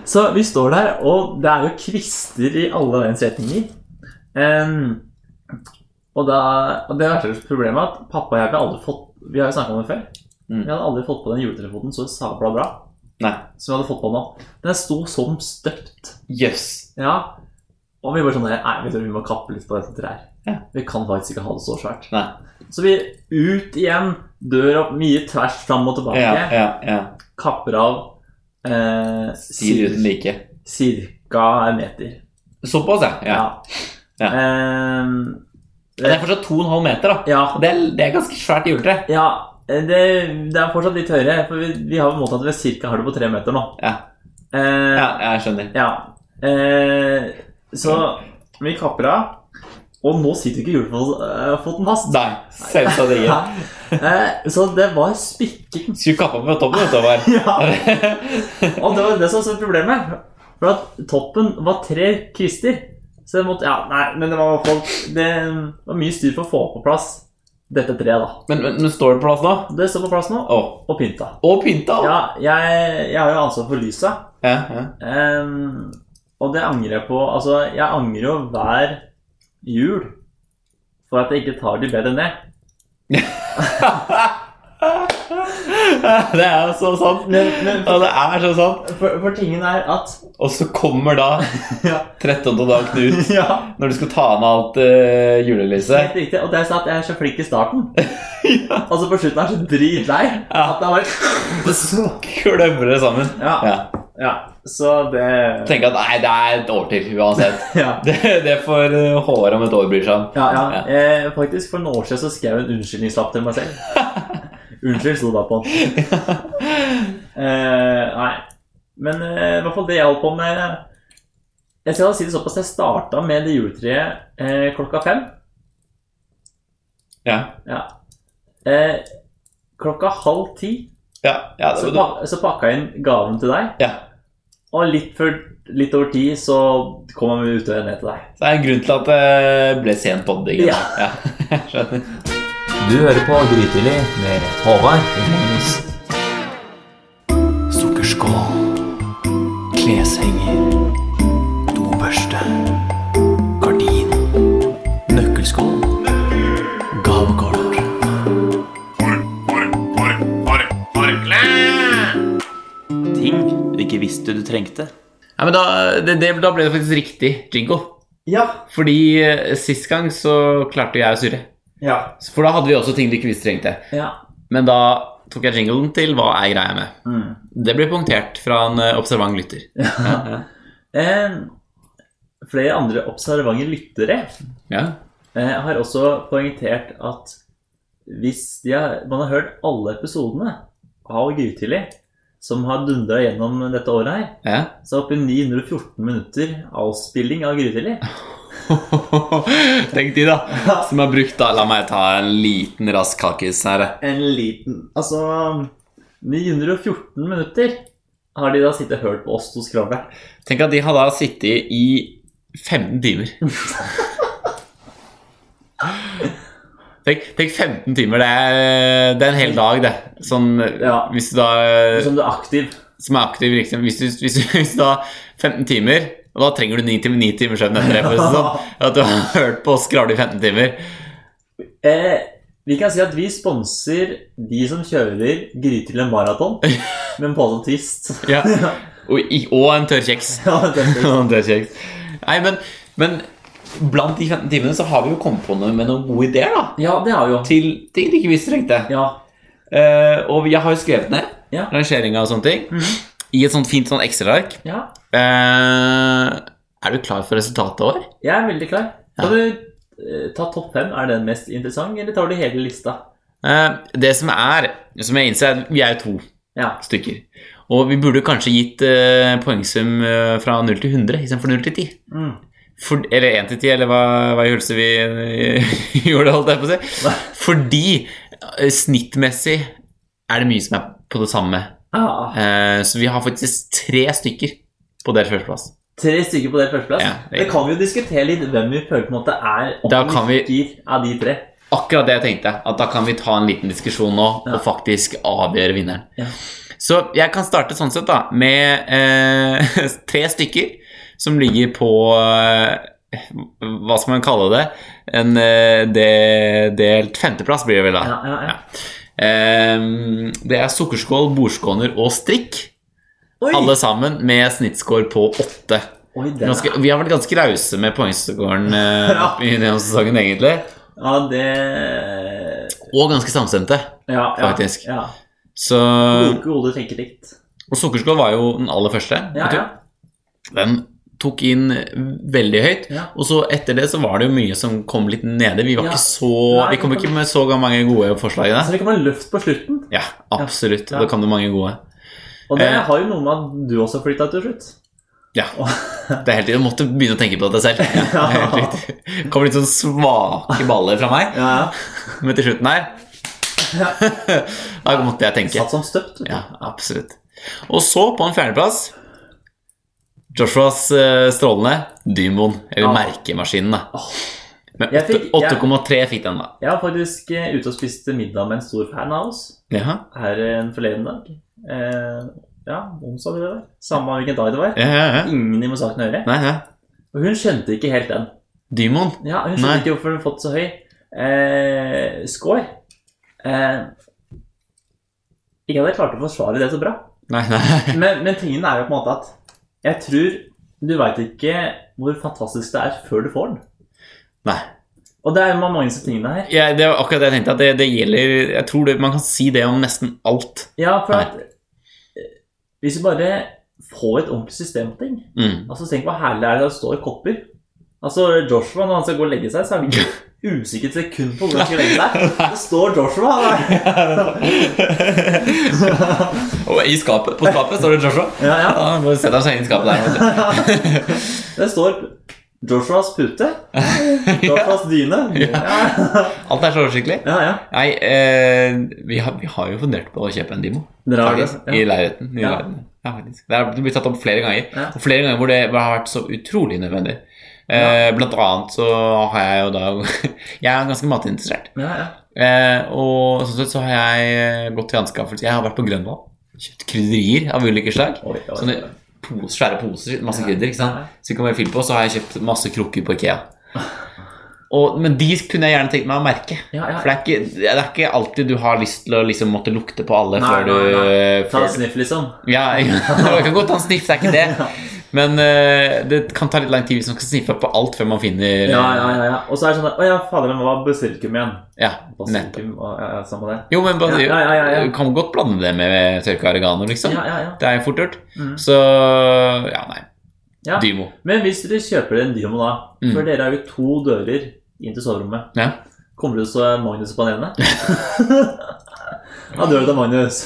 Speaker 2: Så vi står der, og det er jo kvister i alle verdens retninger. Em, og, da, og det verste problemet er at pappa og jeg vi har aldri fått Vi har jo snakka om det før.
Speaker 1: Mm.
Speaker 2: Vi hadde aldri fått på den juletelefonen så sabla bra
Speaker 1: Nei.
Speaker 2: som vi hadde fått på nå. Den sto som støpt.
Speaker 1: Jøss.
Speaker 2: Ja. Og vi bare sånn Nei, vet du, vi må kappe litt på dette treet. her.
Speaker 1: Ja.
Speaker 2: Vi kan faktisk ikke ha det så svært.
Speaker 1: Nei.
Speaker 2: Så vi ut igjen, dør opp mye tvers fram og tilbake.
Speaker 1: Ja, ja, ja.
Speaker 2: Kapper av eh,
Speaker 1: Sier uten
Speaker 2: cir-
Speaker 1: like.
Speaker 2: cirka en meter.
Speaker 1: Såpass, ja. ja. Ja.
Speaker 2: Ehm,
Speaker 1: Men det er fortsatt 2,5 meter, da.
Speaker 2: ja.
Speaker 1: Og Det er, det er ganske svært juletre.
Speaker 2: ja det, det er fortsatt litt høyere, for vi, vi har mottatt at vi cirka har det på tre meter nå.
Speaker 1: Ja.
Speaker 2: Eh,
Speaker 1: Ja, jeg skjønner.
Speaker 2: Ja. Eh, så vi kapper av. Og nå sitter ikke julefoten eh, fast.
Speaker 1: Nei, selvsagt ikke.
Speaker 2: Eh, så det var spikking.
Speaker 1: Skulle kappa på toppen, vet du, Håvard.
Speaker 2: Ja, og det var det som var problemet. For at toppen var tre kvister. Så jeg måtte Ja, nei, men det var i hvert fall Det var mye styr for å få på plass dette treet, da.
Speaker 1: Men, men, men står det på plass da?
Speaker 2: Det står på plass nå,
Speaker 1: Å,
Speaker 2: og pynta.
Speaker 1: og pynta!
Speaker 2: Ja, jeg, jeg har jo ansvar for lysa.
Speaker 1: Ja, ja.
Speaker 2: Ehm, og det angrer jeg på. Altså, jeg angrer jo hver jul for at jeg ikke tar de bedre ned.
Speaker 1: det er jo så sant.
Speaker 2: Men, men
Speaker 1: Ja, det er så sant.
Speaker 2: for, for tingen er at
Speaker 1: Og så kommer da
Speaker 2: Ja,
Speaker 1: 13. dag Knut
Speaker 2: ja
Speaker 1: når du skal ta med alt eh, julelyset.
Speaker 2: helt riktig. Og det er sånn at jeg er så flink i starten. Og så på slutten er jeg så dritlei at det er bare
Speaker 1: Så kløver det sammen.
Speaker 2: Ja.
Speaker 1: Ja.
Speaker 2: ja. Så det
Speaker 1: Tenk at nei, det er et år til uansett.
Speaker 2: Ja.
Speaker 1: Det, det får eh, HR om et år bryr seg om.
Speaker 2: Ja, ja.
Speaker 1: Ja.
Speaker 2: Eh, faktisk, for noen år siden så skrev jeg en unnskyldningslapp til meg selv. Unnskyld, sto det på den. Eh, nei. Men eh, i hvert fall det jeg holdt på med eh, Jeg skal si det såpass, jeg starta med det juletreet eh, klokka fem.
Speaker 1: Ja.
Speaker 2: Eh, klokka halv ti
Speaker 1: Ja, ja,
Speaker 2: så,
Speaker 1: det, var-
Speaker 2: pa så pakka jeg inn gaven til deg.
Speaker 1: ja.
Speaker 2: Og litt, før, litt over ti så kom jeg med utøyet ned til deg.
Speaker 1: Så det er en grunn til at det ble sen podding.
Speaker 2: Ja.
Speaker 1: Ja. jeg skjønner.
Speaker 2: Du hører på Grytidlig med Håvard og Magnus.
Speaker 1: Sukkerskål, kleshenger, dobørste, gardin, nøkkelskål, gavekort. Ting du ikke visste du trengte. Ja, men da, det, det, da ble det faktisk riktig jingle.
Speaker 2: Ja.
Speaker 1: Fordi eh, sist gang så klarte jeg å surre.
Speaker 2: Ja.
Speaker 1: For da hadde vi også ting du ikke visste du trengte.
Speaker 2: ja.
Speaker 1: Men da tok jeg jinglen til hva er greia med.
Speaker 2: Mm.
Speaker 1: Det ble punktert fra en eh, observant lytter. Ja.
Speaker 2: Eh, flere andre observante lyttere
Speaker 1: ja.
Speaker 2: eh, har også poengtert at hvis de har, man har hørt alle episodene av Grytidlig som har dundra gjennom dette året her,
Speaker 1: ja.
Speaker 2: så er oppi 914 minutter avspilling av Grytidlig.
Speaker 1: Tenk de, da. Som har brukt da La meg ta en liten rask kalkis her. eh.
Speaker 2: En liten Altså 914 minutter har de da sittet og hørt på oss to skravle.
Speaker 1: Tenk at de har da sittet i 15 timer. Tenk, tenk 15 timer. Det er, det er en hel dag, det. Sånn
Speaker 2: Ja.
Speaker 1: hvis du da
Speaker 2: Som du er aktiv.
Speaker 1: Som er aktiv, liksom. Hvis du, hvis du, hvis du har 15 timer og da trenger du 9 timer, 9 timer søvn etter det. for å si det Sånn, at du har hørt på oss skravle i 15 timer.
Speaker 2: Eh, vi kan si at vi sponser de som kjører Grytidlig maraton, men på en twist.
Speaker 1: Ja. Og, i- og en tørr kjeks.
Speaker 2: Ja, det er fint.
Speaker 1: Ja, det er kjekt. Nei, men, men blant de 15 timene så har vi jo kommet på noe med noen gode ideer, da.
Speaker 2: ja, det har vi jo.
Speaker 1: Til ting de ikke visste trengte.
Speaker 2: Ja.
Speaker 1: Eh, og jeg har jo skrevet ned
Speaker 2: Ja.
Speaker 1: rangeringa og sånne ting
Speaker 2: Mhm.
Speaker 1: i et sånt fint sånn Excel-ark.
Speaker 2: ja.
Speaker 1: Eh, er du klar for resultatet vår?
Speaker 2: Jeg er veldig klar. Kan
Speaker 1: Ja.
Speaker 2: du eh, ta topp fem? Er den mest interessant, eller tar du hele lista?
Speaker 1: Eh, det som er, som jeg innser, er at vi er jo to
Speaker 2: Ja.
Speaker 1: stykker. Og vi burde kanskje gitt eh, poengsum eh, fra 0 til 100 istedenfor 0 til 10.
Speaker 2: Mm.
Speaker 1: For, eller 1 til 10, eller hva, hva i hulse vi eh, gjorde, holdt jeg på å si. Fordi eh, snittmessig er det mye som er på det samme.
Speaker 2: Ah,
Speaker 1: Eh, så vi har faktisk tre stykker på deres førsteplass.
Speaker 2: tre stykker på delt førsteplass.
Speaker 1: Ja, det er
Speaker 2: det, kan vi jo diskutere litt hvem vi føler på en måte er
Speaker 1: Da kan vi-
Speaker 2: oppgitt av de tre.
Speaker 1: Akkurat det jeg tenkte. At da kan vi ta en liten diskusjon nå
Speaker 2: Ja.
Speaker 1: og faktisk avgjøre vinneren.
Speaker 2: Ja.
Speaker 1: Så jeg kan starte sånn sett, da, med eh, tre stykker som ligger på eh, Hva skal man kalle det? En eh, de, delt femteplass, blir det vel da.
Speaker 2: Ja, ja, ja.
Speaker 1: Ehm, Det er sukkerskål, bordskåner og strikk.
Speaker 2: Oi!
Speaker 1: Alle sammen med snittscore på åtte.
Speaker 2: Oi, den er...
Speaker 1: Ganske, vi har vært ganske rause med poengscoren eh,
Speaker 2: Ja.
Speaker 1: i denne sesongen, egentlig.
Speaker 2: Ja, det
Speaker 1: Og ganske samstemte,
Speaker 2: Ja, ja.
Speaker 1: Faktisk. Um,
Speaker 2: Ja.
Speaker 1: så
Speaker 2: Kloke hoder tenker likt.
Speaker 1: Og sukkerskål var jo den aller første.
Speaker 2: Ja,
Speaker 1: vet du.
Speaker 2: ja.
Speaker 1: Den tok inn veldig høyt.
Speaker 2: Ja.
Speaker 1: Og så etter det så var det jo mye som kom litt nede. Vi var
Speaker 2: Ja.
Speaker 1: ikke så
Speaker 2: Nei,
Speaker 1: Vi kom
Speaker 2: det kom-
Speaker 1: ikke med så mange gode forslag i det.
Speaker 2: Så det kan være løft på slutten.
Speaker 1: Ja, absolutt.
Speaker 2: Ja.
Speaker 1: Da kom det mange gode.
Speaker 2: Og det
Speaker 1: Eh.
Speaker 2: har jo noe med at du også flytta til slutt.
Speaker 1: Ja. Det er helt riktig. Du måtte begynne å tenke på dette selv. Ja, helt riktig. Kom litt sånn svake baller fra meg,
Speaker 2: Ja, ja.
Speaker 1: men til slutten her Da måtte jeg tenke.
Speaker 2: Satt som støpt. vet du.
Speaker 1: Ja, absolutt. Og så, på en fjerdeplass Joshuas eh, strålende Dymoen, eller
Speaker 2: Ja.
Speaker 1: merkemaskinen, da.
Speaker 2: Åh.
Speaker 1: Men
Speaker 2: Ah. Jeg fikk-
Speaker 1: 8,3 fikk den, da.
Speaker 2: Jeg var faktisk eh, ute og spiste middag med en stor fan av oss
Speaker 1: Jaha.
Speaker 2: her en forleden dag. Eh, ja, onsdag tror jeg det var. Samme hvilken dag det var.
Speaker 1: Ja, ja, ja.
Speaker 2: Ingen i med saken å gjøre.
Speaker 1: Nei, ja.
Speaker 2: Og hun skjønte ikke helt den.
Speaker 1: Dymon.
Speaker 2: Ja, Hun skjønte
Speaker 1: Nei.
Speaker 2: ikke hvorfor hun fått så høy eh, score. Eh, ikke at jeg klarte å forsvare det så bra.
Speaker 1: Nei, nei.
Speaker 2: Men, men tingen er jo på en måte at jeg tror du veit ikke hvor fantastisk det er før du får den.
Speaker 1: nei.
Speaker 2: Og det er jo mange av disse tingene her.
Speaker 1: Ja, det var akkurat det jeg tenkte. At det, det gjelder Jeg tror det, man kan si det om nesten alt.
Speaker 2: Ja, for
Speaker 1: Nei.
Speaker 2: at eh, hvis du bare får et ordentlig system på ting
Speaker 1: Mm.
Speaker 2: Altså Tenk hvor herlig er det å stå i kopper. Altså Joshua Når han skal gå og legge seg, så er han ikke usikker et sekund på hvor han skal legge seg. Det står Joshua der.
Speaker 1: Og i skapet, på skapet står det Joshua.
Speaker 2: Ja, ja.
Speaker 1: Ja, han bare setter seg inn i skapet der. vet
Speaker 2: Det står Joshuas pute. Joshuas dyne. Ja,
Speaker 1: du. Alt er så oversiktlig.
Speaker 2: ja. ja.
Speaker 1: Nei, eh, vi, har, vi har jo fundert på å kjøpe en Dimo.
Speaker 2: Dere har det.
Speaker 1: Faktisk,
Speaker 2: Ja.
Speaker 1: I leiligheten. I
Speaker 2: Ja.
Speaker 1: leiligheten. Ja, faktisk. Det har blitt tatt opp flere ganger.
Speaker 2: Ja.
Speaker 1: Og flere ganger hvor det har vært så utrolig nødvendig. Eh, Blant annet så har jeg jo da Jeg er ganske matinteressert.
Speaker 2: Ja, ja.
Speaker 1: Eh, og sånn sett så har jeg eh, gått til anskaffelse Jeg har vært på Grønland. Kjøpt krydderier av ulike slag.
Speaker 2: Oi, oi,
Speaker 1: Sånne
Speaker 2: oi.
Speaker 1: pos, svære poser, masse krydder. ikke
Speaker 2: Ja.
Speaker 1: sant? Så vi kan bare fylle på, så har jeg kjøpt masse krukker på Ikea. Og, men de kunne jeg gjerne tenkt meg å merke.
Speaker 2: Ja, ja.
Speaker 1: For det er, ikke, det er ikke alltid du har lyst til å liksom måtte lukte på alle
Speaker 2: Nei,
Speaker 1: før du
Speaker 2: nei,
Speaker 1: nei.
Speaker 2: Ta en sniff, liksom.
Speaker 1: Ja, ja. Jeg kan godt ta en sniff, det er ikke det. Men eh, det kan ta litt lang tid hvis man skal sniffe på alt før man finner
Speaker 2: Ja, ja, ja, ja. Og så er det sånn der Å ja, fader, men hva var basilikum igjen?
Speaker 1: ja, nettopp.
Speaker 2: Basilikum, og, ja, ja, samme det.
Speaker 1: Jo, men bare,
Speaker 2: Ja, ja, ja, ja.
Speaker 1: du kan godt blande det med tørka oregano, liksom.
Speaker 2: Ja, ja, ja.
Speaker 1: Det er jo fort gjort.
Speaker 2: Mm.
Speaker 1: Så ja, nei.
Speaker 2: Ja.
Speaker 1: Dymo.
Speaker 2: Men hvis dere kjøper en Dynamo da,
Speaker 1: Mm.
Speaker 2: for dere har jo to dører inn til soverommet,
Speaker 1: Ja.
Speaker 2: kommer det så Magnus på den ene? ja, døra til Magnus.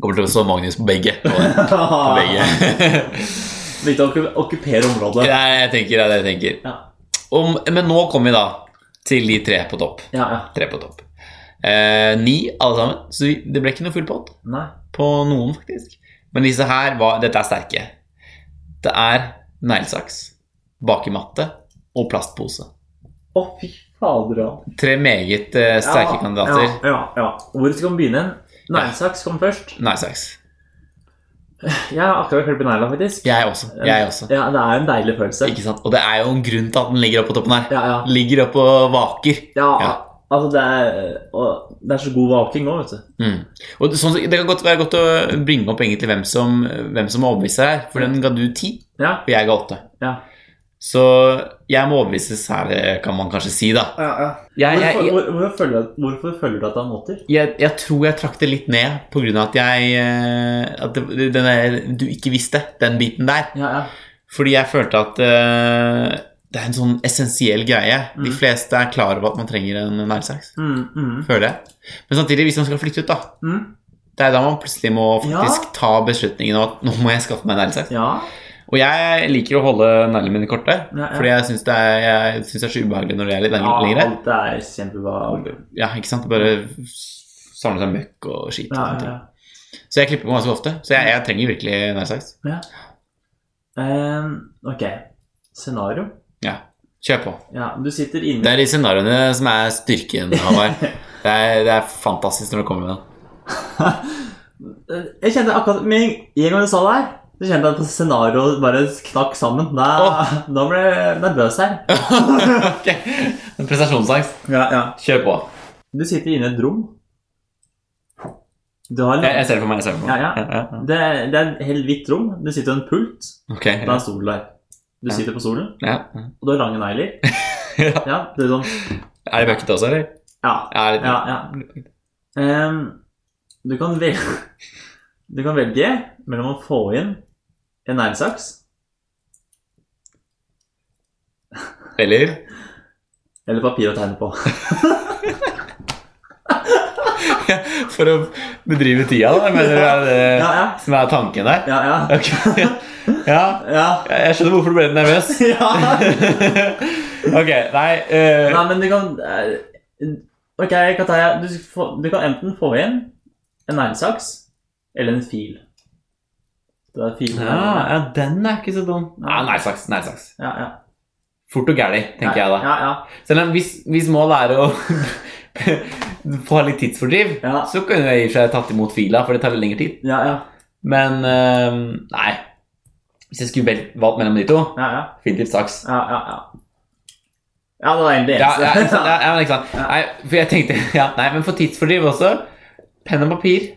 Speaker 1: Kommer til å stå Magnus på begge. På på
Speaker 2: Begge.
Speaker 1: begge.
Speaker 2: Viktig å okku- okkupere området.
Speaker 1: det er det jeg tenker. Det er det jeg tenker.
Speaker 2: Ja.
Speaker 1: Om, men nå kommer vi da til de tre på topp.
Speaker 2: Ja, ja.
Speaker 1: Tre på topp. Eh, ni, alle sammen. Så vi, det ble ikke noe full pott
Speaker 2: Nei.
Speaker 1: på noen, faktisk. Men disse her var Dette er sterke. Det er neglesaks, bakematte og plastpose.
Speaker 2: Å, fy fader. ja.
Speaker 1: Tre meget eh, sterke kandidater.
Speaker 2: Ja, ja, ja. Hvor skal vi begynne? Neglesaks kom først.
Speaker 1: Neglesaks.
Speaker 2: Jeg har akkurat klippet negla, faktisk.
Speaker 1: Jeg også. Jeg også.
Speaker 2: Ja, Det er en deilig følelse.
Speaker 1: Ikke sant? Og det er jo en grunn til at den ligger oppe på toppen her.
Speaker 2: Ja, ja.
Speaker 1: Ligger oppe og vaker.
Speaker 2: ja,
Speaker 1: Ja.
Speaker 2: Altså, det er, og, det er så god vaking òg, vet du.
Speaker 1: Mm. Og sånn, Det kan godt være godt å bringe opp egentlig hvem som, hvem som overbeviser her, for den ga du ti,
Speaker 2: Ja,
Speaker 1: og jeg ga åtte.
Speaker 2: ja.
Speaker 1: Så jeg må overbevises her, kan man kanskje si, da.
Speaker 2: ja, ja.
Speaker 1: Jeg,
Speaker 2: Hvorfor,
Speaker 1: jeg, jeg,
Speaker 2: hvor, hvorfor, føler du, at- hvorfor føler du at han måter?
Speaker 1: jeg, jeg tror jeg trakk det litt ned på grunn av at jeg eh, At det, den der du ikke visste, den biten der.
Speaker 2: Ja, ja.
Speaker 1: Fordi jeg følte at eh, det er en sånn essensiell greie. De
Speaker 2: Mm.
Speaker 1: fleste er klar over at man trenger en neglesaks.
Speaker 2: Mm, mm,
Speaker 1: Føler jeg. Men samtidig, hvis man skal flytte ut, da
Speaker 2: mm.
Speaker 1: Det er da man plutselig må
Speaker 2: Ja.
Speaker 1: faktisk ta beslutningen om at nå må jeg skaffe meg neglesaks.
Speaker 2: Ja.
Speaker 1: Og jeg liker å holde neglene mine korte,
Speaker 2: Ja, ja.
Speaker 1: fordi jeg syns det, er- jeg synes det er så ubehagelig når de er litt lengre- lengre.
Speaker 2: alt er kjempebra.
Speaker 1: Ja, ikke sant? Det Bare samle seg møkk og skit. og
Speaker 2: Ja,
Speaker 1: sånne
Speaker 2: ja.
Speaker 1: ting. Så jeg klipper meg ganske ofte. Så jeg, jeg trenger virkelig neglesaks.
Speaker 2: Ehm, ok. Scenario.
Speaker 1: Kjør på.
Speaker 2: Ja, du sitter
Speaker 1: Det
Speaker 2: inne
Speaker 1: er de scenarioene som er styrken, Håvard. Det, er- det er fantastisk når du kommer med den.
Speaker 2: Eh, Jeg kjente akkurat Med en gang du sa det her, så kjente jeg at scenarioet bare knakk sammen. Da, da ble jeg nervøs her.
Speaker 1: okay. Prestasjonsangst.
Speaker 2: Ja, ja.
Speaker 1: Kjør på.
Speaker 2: Du sitter inne i et rom. Du har en
Speaker 1: Jeg, jeg ser det for meg. Jeg ser det for meg.
Speaker 2: Ja, ja.
Speaker 1: ja.
Speaker 2: Det, det er et helt hvitt rom. Du sitter i en pult.
Speaker 1: Ok.
Speaker 2: Det er en stol der. Du
Speaker 1: Ja.
Speaker 2: sitter på stolen,
Speaker 1: Ja.
Speaker 2: og du har lange negler.
Speaker 1: Ja.
Speaker 2: Ja, det er sånn
Speaker 1: Er det bucket også, eller?
Speaker 2: Ja,
Speaker 1: Er det...
Speaker 2: ja, ja. Ehm, du, kan velge, du kan velge mellom å få inn en neglesaks
Speaker 1: Eller?
Speaker 2: eller papir å tegne på.
Speaker 1: For å bedrive tida, da? Mener du er det
Speaker 2: Ja, ja.
Speaker 1: som er tanken der?
Speaker 2: Ja, ja.
Speaker 1: Ok. Ja,
Speaker 2: ja.
Speaker 1: jeg skjønner hvorfor du ble litt nervøs.
Speaker 2: ja.
Speaker 1: ok, nei eh,
Speaker 2: Nei, men du kan eh, Ok, Kataya, du, får- du kan enten få inn en neglesaks eller en fil. Det er fil.
Speaker 1: ja, ja, den er ikke så dum. Nei, nei, saks. Nei, saks.
Speaker 2: Ja, ja.
Speaker 1: fort og gæli, tenker
Speaker 2: ja,
Speaker 1: jeg da.
Speaker 2: Ja, ja.
Speaker 1: Selv om hvis, hvis målet er å få litt tidsfordriv,
Speaker 2: Ja.
Speaker 1: så kunne jeg i og for seg tatt imot fila, for det tar litt lengre tid.
Speaker 2: Ja, ja.
Speaker 1: Men eh, nei. Hvis jeg skulle vel- valgt mellom de to,
Speaker 2: Ja, ja.
Speaker 1: definitivt saks.
Speaker 2: Ja, ja, ja. ja det var egentlig det
Speaker 1: Ja, ja, ikke
Speaker 2: eneste.
Speaker 1: sant? ja, ja, men ikke sant.
Speaker 2: Ja.
Speaker 1: Nei, for jeg tenkte ja, Nei, men for tidsfordriv også. Penn og papir.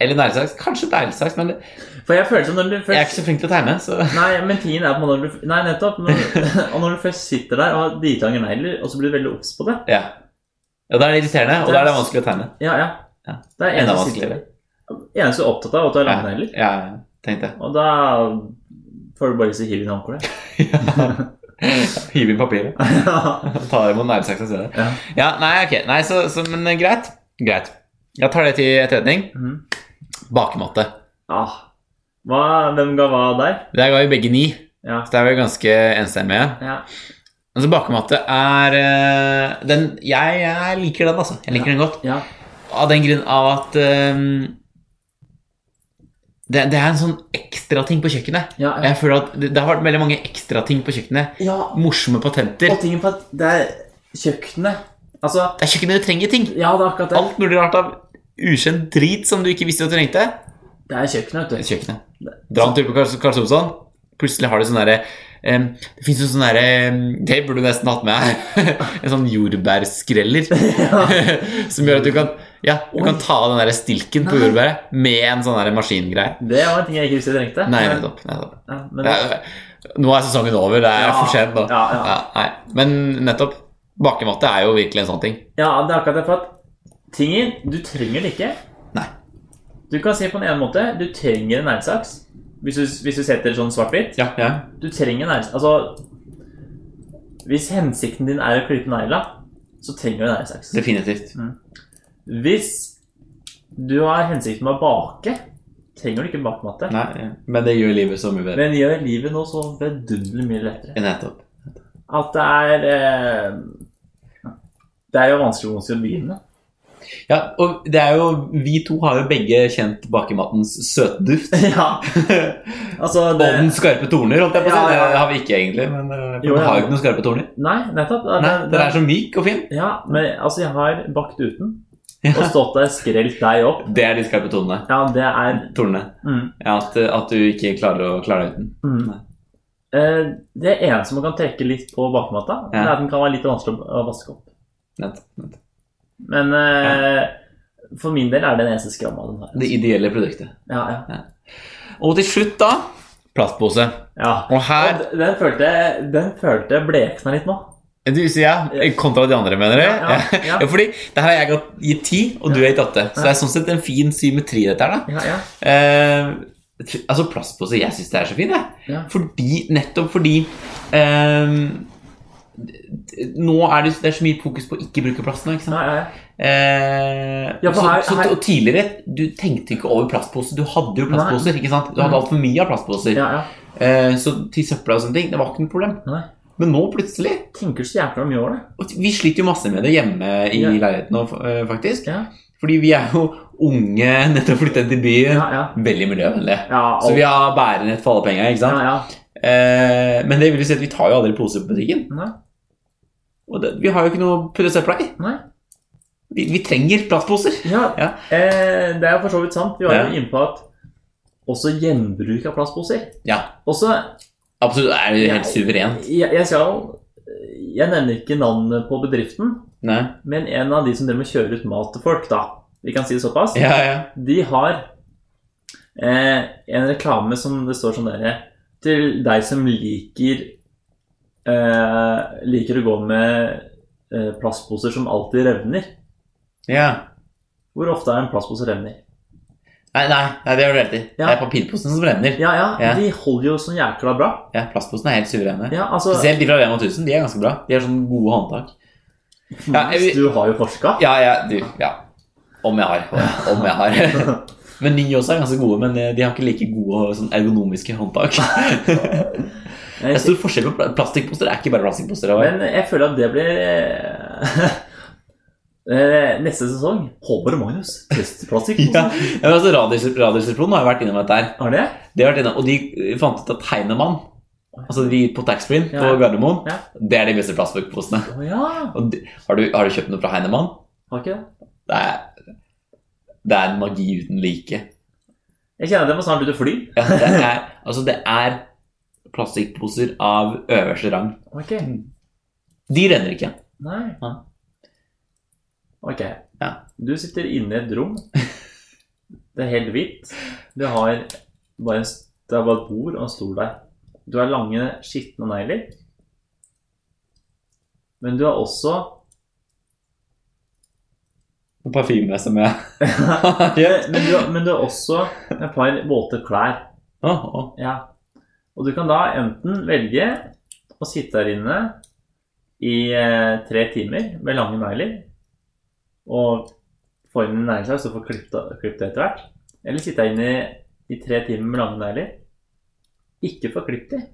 Speaker 1: Eller neglesaks. Kanskje neglesaks, men det-
Speaker 2: For jeg føler som når du
Speaker 1: jeg er ikke
Speaker 2: først
Speaker 1: så flink til å tegne, så
Speaker 2: Nei, men tingen er på en måte når du Nei, nettopp. Når, og når du først sitter der og har dritlange negler, og så blir du veldig obs på det
Speaker 1: ja. ja. Da er det irriterende, og da er det vanskelig å tegne.
Speaker 2: Ja, ja.
Speaker 1: Ja.
Speaker 2: Det er
Speaker 1: Enda
Speaker 2: eneste sitter-
Speaker 1: vanskeligere.
Speaker 2: eneste du er opptatt av, er at du har
Speaker 1: Ja,
Speaker 2: lange negler.
Speaker 1: ja tenkte jeg.
Speaker 2: Og da får du bare lyst til å hive inn håndkleet.
Speaker 1: Hive inn papiret.
Speaker 2: ja.
Speaker 1: Ta imot neglesaksa i stedet.
Speaker 2: Ja.
Speaker 1: Ja, nei, ok. Nei, så, så, men eh, greit. Greit. Jeg tar det til etterretning.
Speaker 2: Mhm.
Speaker 1: Bakematte.
Speaker 2: Ah. Hva, hvem ga hva der?
Speaker 1: Der ga vi begge ni,
Speaker 2: Ja.
Speaker 1: så det er vi ganske enstemmige.
Speaker 2: ja.
Speaker 1: Altså, bakematte er eh, den, jeg, jeg liker den, altså. Jeg liker den godt.
Speaker 2: ja.
Speaker 1: Av den grunn av at eh, det, det er en sånn ekstrating på kjøkkenet.
Speaker 2: Ja, ja.
Speaker 1: Jeg føler at det, det har vært veldig mange ekstrating på kjøkkenet.
Speaker 2: ja.
Speaker 1: Morsomme patenter.
Speaker 2: Og tingen på at det er kjøkkenet Altså,
Speaker 1: Det er kjøkkenet du trenger ting.
Speaker 2: ja, det er akkurat det.
Speaker 1: Alt mulig rart av ukjent drit som du ikke visste du trengte.
Speaker 2: Det er kjøkkenet,
Speaker 1: Det
Speaker 2: vet
Speaker 1: er
Speaker 2: du.
Speaker 1: kjøkkenet. Dra en tur på Karls- Karls Olsson. Plutselig har du sånn derre eh, Det fins jo sånn derre eh, Det burde du nesten hatt med her. en sånn jordbærskreller. som gjør at du kan Ja, du kan ta av den der stilken på
Speaker 2: Nei.
Speaker 1: jordbæret med en sånn der maskingreie.
Speaker 2: Det var en ting jeg ikke visste jeg trengte.
Speaker 1: Nei,
Speaker 2: Men-
Speaker 1: nettopp. nettopp.
Speaker 2: Ja, men,
Speaker 1: Det er, nå er sesongen over. Det er
Speaker 2: Ja,
Speaker 1: for sent nå.
Speaker 2: ja, ja.
Speaker 1: nei. Men nettopp. Bakematte er jo virkelig en sånn ting.
Speaker 2: ja, det er akkurat det. For at tingen Du trenger det ikke.
Speaker 1: Nei.
Speaker 2: Du kan si på den ene måte du trenger en neglesaks. Hvis, du- hvis du setter sånn svart-hvitt.
Speaker 1: Ja, ja.
Speaker 2: Du trenger en neglesaks. Altså Hvis hensikten din er å klippe negla, så trenger du en neglesaks.
Speaker 1: Definitivt.
Speaker 2: Hvis du har hensikten med å bake, trenger du ikke bakematte.
Speaker 1: Nei, ja. men det gjør livet så mye bedre.
Speaker 2: Men gjør livet nå så vidunderlig mye lettere.
Speaker 1: Nettopp.
Speaker 2: At det er eh, Det er jo vanskelig å å begynne.
Speaker 1: Ja, og det er jo, vi to har jo begge kjent bakematens søtduft.
Speaker 2: Ja, altså
Speaker 1: Og
Speaker 2: det,
Speaker 1: den skarpe torner, holdt jeg på å si.
Speaker 2: Ja, ja, ja.
Speaker 1: Det har vi ikke egentlig, men øh, for
Speaker 2: Jo,
Speaker 1: den
Speaker 2: ja.
Speaker 1: har jo ikke noen skarpe torner.
Speaker 2: Nei, nettopp. Det,
Speaker 1: Nei,
Speaker 2: det,
Speaker 1: Den er så myk og fin.
Speaker 2: ja, men altså, jeg har bakt uten og
Speaker 1: Ja.
Speaker 2: stått der skrelt deg opp.
Speaker 1: Det er de skarpe tonene.
Speaker 2: Ja, det er
Speaker 1: Tornene.
Speaker 2: mm,
Speaker 1: Ja, at, at du ikke klarer å klare deg uten.
Speaker 2: mm. Eh, Det eneste man kan trekke litt på bakmatta,
Speaker 1: Ja.
Speaker 2: er at den kan være litt vanskelig å- å vaske opp.
Speaker 1: Nettopp, nettopp.
Speaker 2: Men eh, for min del er det den eneste skramma den har.
Speaker 1: Det ideelle produktet.
Speaker 2: Ja, ja.
Speaker 1: Og til slutt, da Plastpose.
Speaker 2: ja.
Speaker 1: Og her
Speaker 2: Og d- den følte, den følte blekna litt nå.
Speaker 1: Du sier ja, kontra de andre, mener du?
Speaker 2: Ja, ja, ja.
Speaker 1: fordi det her har jeg gått- gitt ti, og du har gitt åtte. Så det er sånn sett en fin symmetri, i dette her, da.
Speaker 2: Ja, ja.
Speaker 1: Eh, t- altså plastpose, jeg syns det er så fint, jeg.
Speaker 2: Ja.
Speaker 1: Fordi, nettopp fordi eh, d- Nå er det, det er så mye fokus på å ikke bruke plast nå, ikke sant.
Speaker 2: ja, ja, ja.
Speaker 1: Eh,
Speaker 2: Ja, for
Speaker 1: så,
Speaker 2: her-
Speaker 1: så,
Speaker 2: her-
Speaker 1: og tidligere, du tenkte ikke over plastpose. Du hadde jo plastposer, ikke sant. Du hadde
Speaker 2: Mhm.
Speaker 1: altfor mye av plastposer.
Speaker 2: ja, ja.
Speaker 1: Eh, så til søpla og sånne ting, det var ikke noe problem.
Speaker 2: Nei.
Speaker 1: Men nå plutselig
Speaker 2: tenker så jækla mye over det.
Speaker 1: og Vi sliter jo masse med det hjemme i
Speaker 2: Ja.
Speaker 1: leiligheten nå, eh, faktisk.
Speaker 2: Ja,
Speaker 1: Fordi vi er jo unge, nettopp flyttet til byen.
Speaker 2: ja. ja.
Speaker 1: Veldig miljøvennlige.
Speaker 2: ja
Speaker 1: Så
Speaker 2: og-
Speaker 1: vi har bærenett for alle penger, ikke sant?
Speaker 2: ja, ja.
Speaker 1: Eh, men det vil jo si at vi tar jo aldri poser på butikken.
Speaker 2: Nei.
Speaker 1: Og det, vi har jo ikke noe å putte søpla i.
Speaker 2: Nei.
Speaker 1: Vi, vi trenger plastposer.
Speaker 2: ja.
Speaker 1: Ja.
Speaker 2: Eh, det er for så vidt sant. Vi var jo
Speaker 1: Ja.
Speaker 2: inne på at også gjenbruk av plastposer.
Speaker 1: Ja.
Speaker 2: Også,
Speaker 1: Absolutt, det er jo helt
Speaker 2: Ja.
Speaker 1: suverent.
Speaker 2: jeg, jeg skal Jeg nevner ikke navnet på bedriften,
Speaker 1: Nei.
Speaker 2: men en av de som driver med å kjøre ut mat til folk, da. Vi kan si det såpass.
Speaker 1: Ja, ja.
Speaker 2: De har eh, en reklame som det står sånn derre Til deg som liker eh, Liker å gå med eh, plastposer som alltid revner.
Speaker 1: ja.
Speaker 2: Hvor ofte er en plastpose revner?
Speaker 1: Nei, nei, nei, det har du rett i.
Speaker 2: Ja.
Speaker 1: Det er papirposen som brenner.
Speaker 2: Ja, ja,
Speaker 1: Ja.
Speaker 2: de holder jo så jækla bra.
Speaker 1: Ja, plastposene er helt suverene.
Speaker 2: Ja, altså,
Speaker 1: Spesielt de fra Rema 1000. De er ganske bra. De har sånne gode håndtak. Ja, jeg-
Speaker 2: Du har jo forska.
Speaker 1: Ja, ja, du, ja. Om jeg har. Om jeg har. Men de også er ganske gode, men eh, de har ikke like gode sånn ergonomiske håndtak. Det er stor forskjell på pla- plastikkposter. Det er ikke bare plastikkposter. det er-
Speaker 2: Men jeg føler at det blir eh, eh, Neste sesong Håvard og Magnus. Plastplastikk.
Speaker 1: Ja, men altså Radius- Radiusresepsjonen har jo vært innom dette her.
Speaker 2: Har det?
Speaker 1: De har vært innom, og de eh, fant ut at Heinemann Altså de på taxfree-en på
Speaker 2: Ja.
Speaker 1: Gardermoen,
Speaker 2: Ja.
Speaker 1: det er de beste plastposene.
Speaker 2: Å ja!
Speaker 1: Og de, har, du, har du kjøpt noe fra Heinemann?
Speaker 2: Har ikke det.
Speaker 1: Det er, det er en magi uten like.
Speaker 2: Jeg kjenner at jeg må snart ut og fly.
Speaker 1: Ja, det er, altså det er plastikkposer av øverste rang.
Speaker 2: Ok.
Speaker 1: De redder ikke.
Speaker 2: Nei.
Speaker 1: Ja.
Speaker 2: Ok.
Speaker 1: Ja.
Speaker 2: Du sitter inne i et rom. Det er helt hvitt. Du har bare en, s- det er bare et bord og en stol der. Du har lange, skitne negler. Men du har også
Speaker 1: Parfyme som jeg
Speaker 2: Men men du, har- men du har også et par våte klær.
Speaker 1: Åh, åh.
Speaker 2: Ja. Og du kan da enten velge å sitte her inne i eh, tre timer med lange negler og få inn en negleslag, så få klippet klippet det etter hvert. Eller sitte her inne i, i tre timer med lange negler. Ikke få klippet de,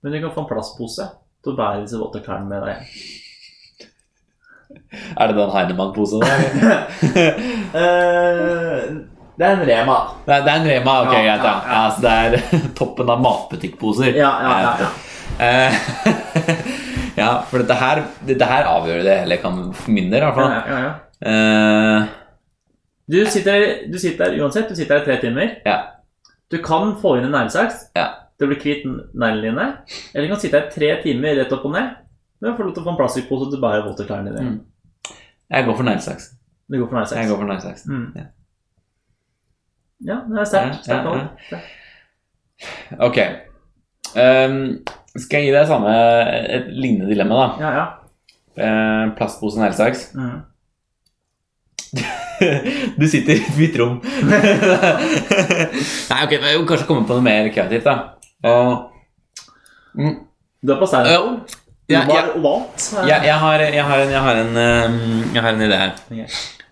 Speaker 2: men du kan få en plastpose til å bære disse våte klærne med deg.
Speaker 1: Er det den Heinemann-posen der? eller?
Speaker 2: Eh, det er en Rema.
Speaker 1: Det er, det er en Rema, ok,
Speaker 2: Ja,
Speaker 1: greit. Ja,
Speaker 2: ja, ja.
Speaker 1: Ja, så det er toppen av matbutikkposer.
Speaker 2: Ja, ja, ja, ja.
Speaker 1: Eh, ja, for dette her, dette her avgjør det hele, kan for min del i hvert
Speaker 2: ja,
Speaker 1: fall.
Speaker 2: ja, ja, ja.
Speaker 1: Eh,
Speaker 2: Du sitter, du sitter her uansett, du sitter her i tre timer.
Speaker 1: Ja.
Speaker 2: Du kan få inn en neglesaks.
Speaker 1: Ja.
Speaker 2: Du blir kvitt neglene dine. Eller du kan sitte her i tre timer rett opp og ned. Men får lov til å få en plastikkpose til å bære våtterklærne dine.
Speaker 1: Mm. jeg går for neglesaks.
Speaker 2: Det går for
Speaker 1: Jeg
Speaker 2: neglesaks.
Speaker 1: Mm. går for neglesaks.
Speaker 2: Mm.
Speaker 1: Ja.
Speaker 2: Ja, det er sterkt.
Speaker 1: Ja, ja,
Speaker 2: sterkt valg.
Speaker 1: Ok. Ehm, skal jeg gi deg samme, et lignende dilemma, da?
Speaker 2: Ja, ja.
Speaker 1: Eh, plastpose og neglesaks.
Speaker 2: Mm.
Speaker 1: Du sitter i et hvitt rom. Nei, ok, jeg må kanskje komme på noe mer kreativt, da. Og- mm,
Speaker 2: Du er på steinen.
Speaker 1: ja, ja,
Speaker 2: Du
Speaker 1: ja,
Speaker 2: var ovalt.
Speaker 1: ja, jeg, har, jeg, har en, jeg, har en, ehm, jeg har en idé her.
Speaker 2: Ok.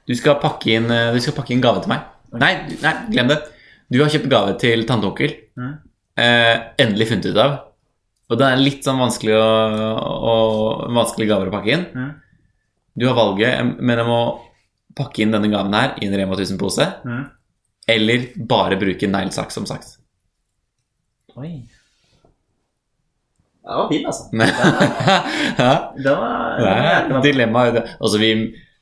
Speaker 1: Du skal pakke inn, eh, du skal pakke inn gave til meg.
Speaker 2: Ok.
Speaker 1: Nei, nei, glem det. Du har kjøpt gave til tante og onkel.
Speaker 2: Mhm.
Speaker 1: Eh, endelig funnet ut av. Og det er litt sånn vanskelig å, å, vanskelig gaver å pakke inn.
Speaker 2: Mhm.
Speaker 1: Du har valget em- mellom å pakke inn denne gaven her i en Rema 1000-pose.
Speaker 2: Mm.
Speaker 1: Eller bare bruke neglesaks som saks.
Speaker 2: Oi. Den var fin, altså.
Speaker 1: ja,
Speaker 2: Den var,
Speaker 1: det
Speaker 2: den var
Speaker 1: er
Speaker 2: jækla-
Speaker 1: dilemma. Altså, vi,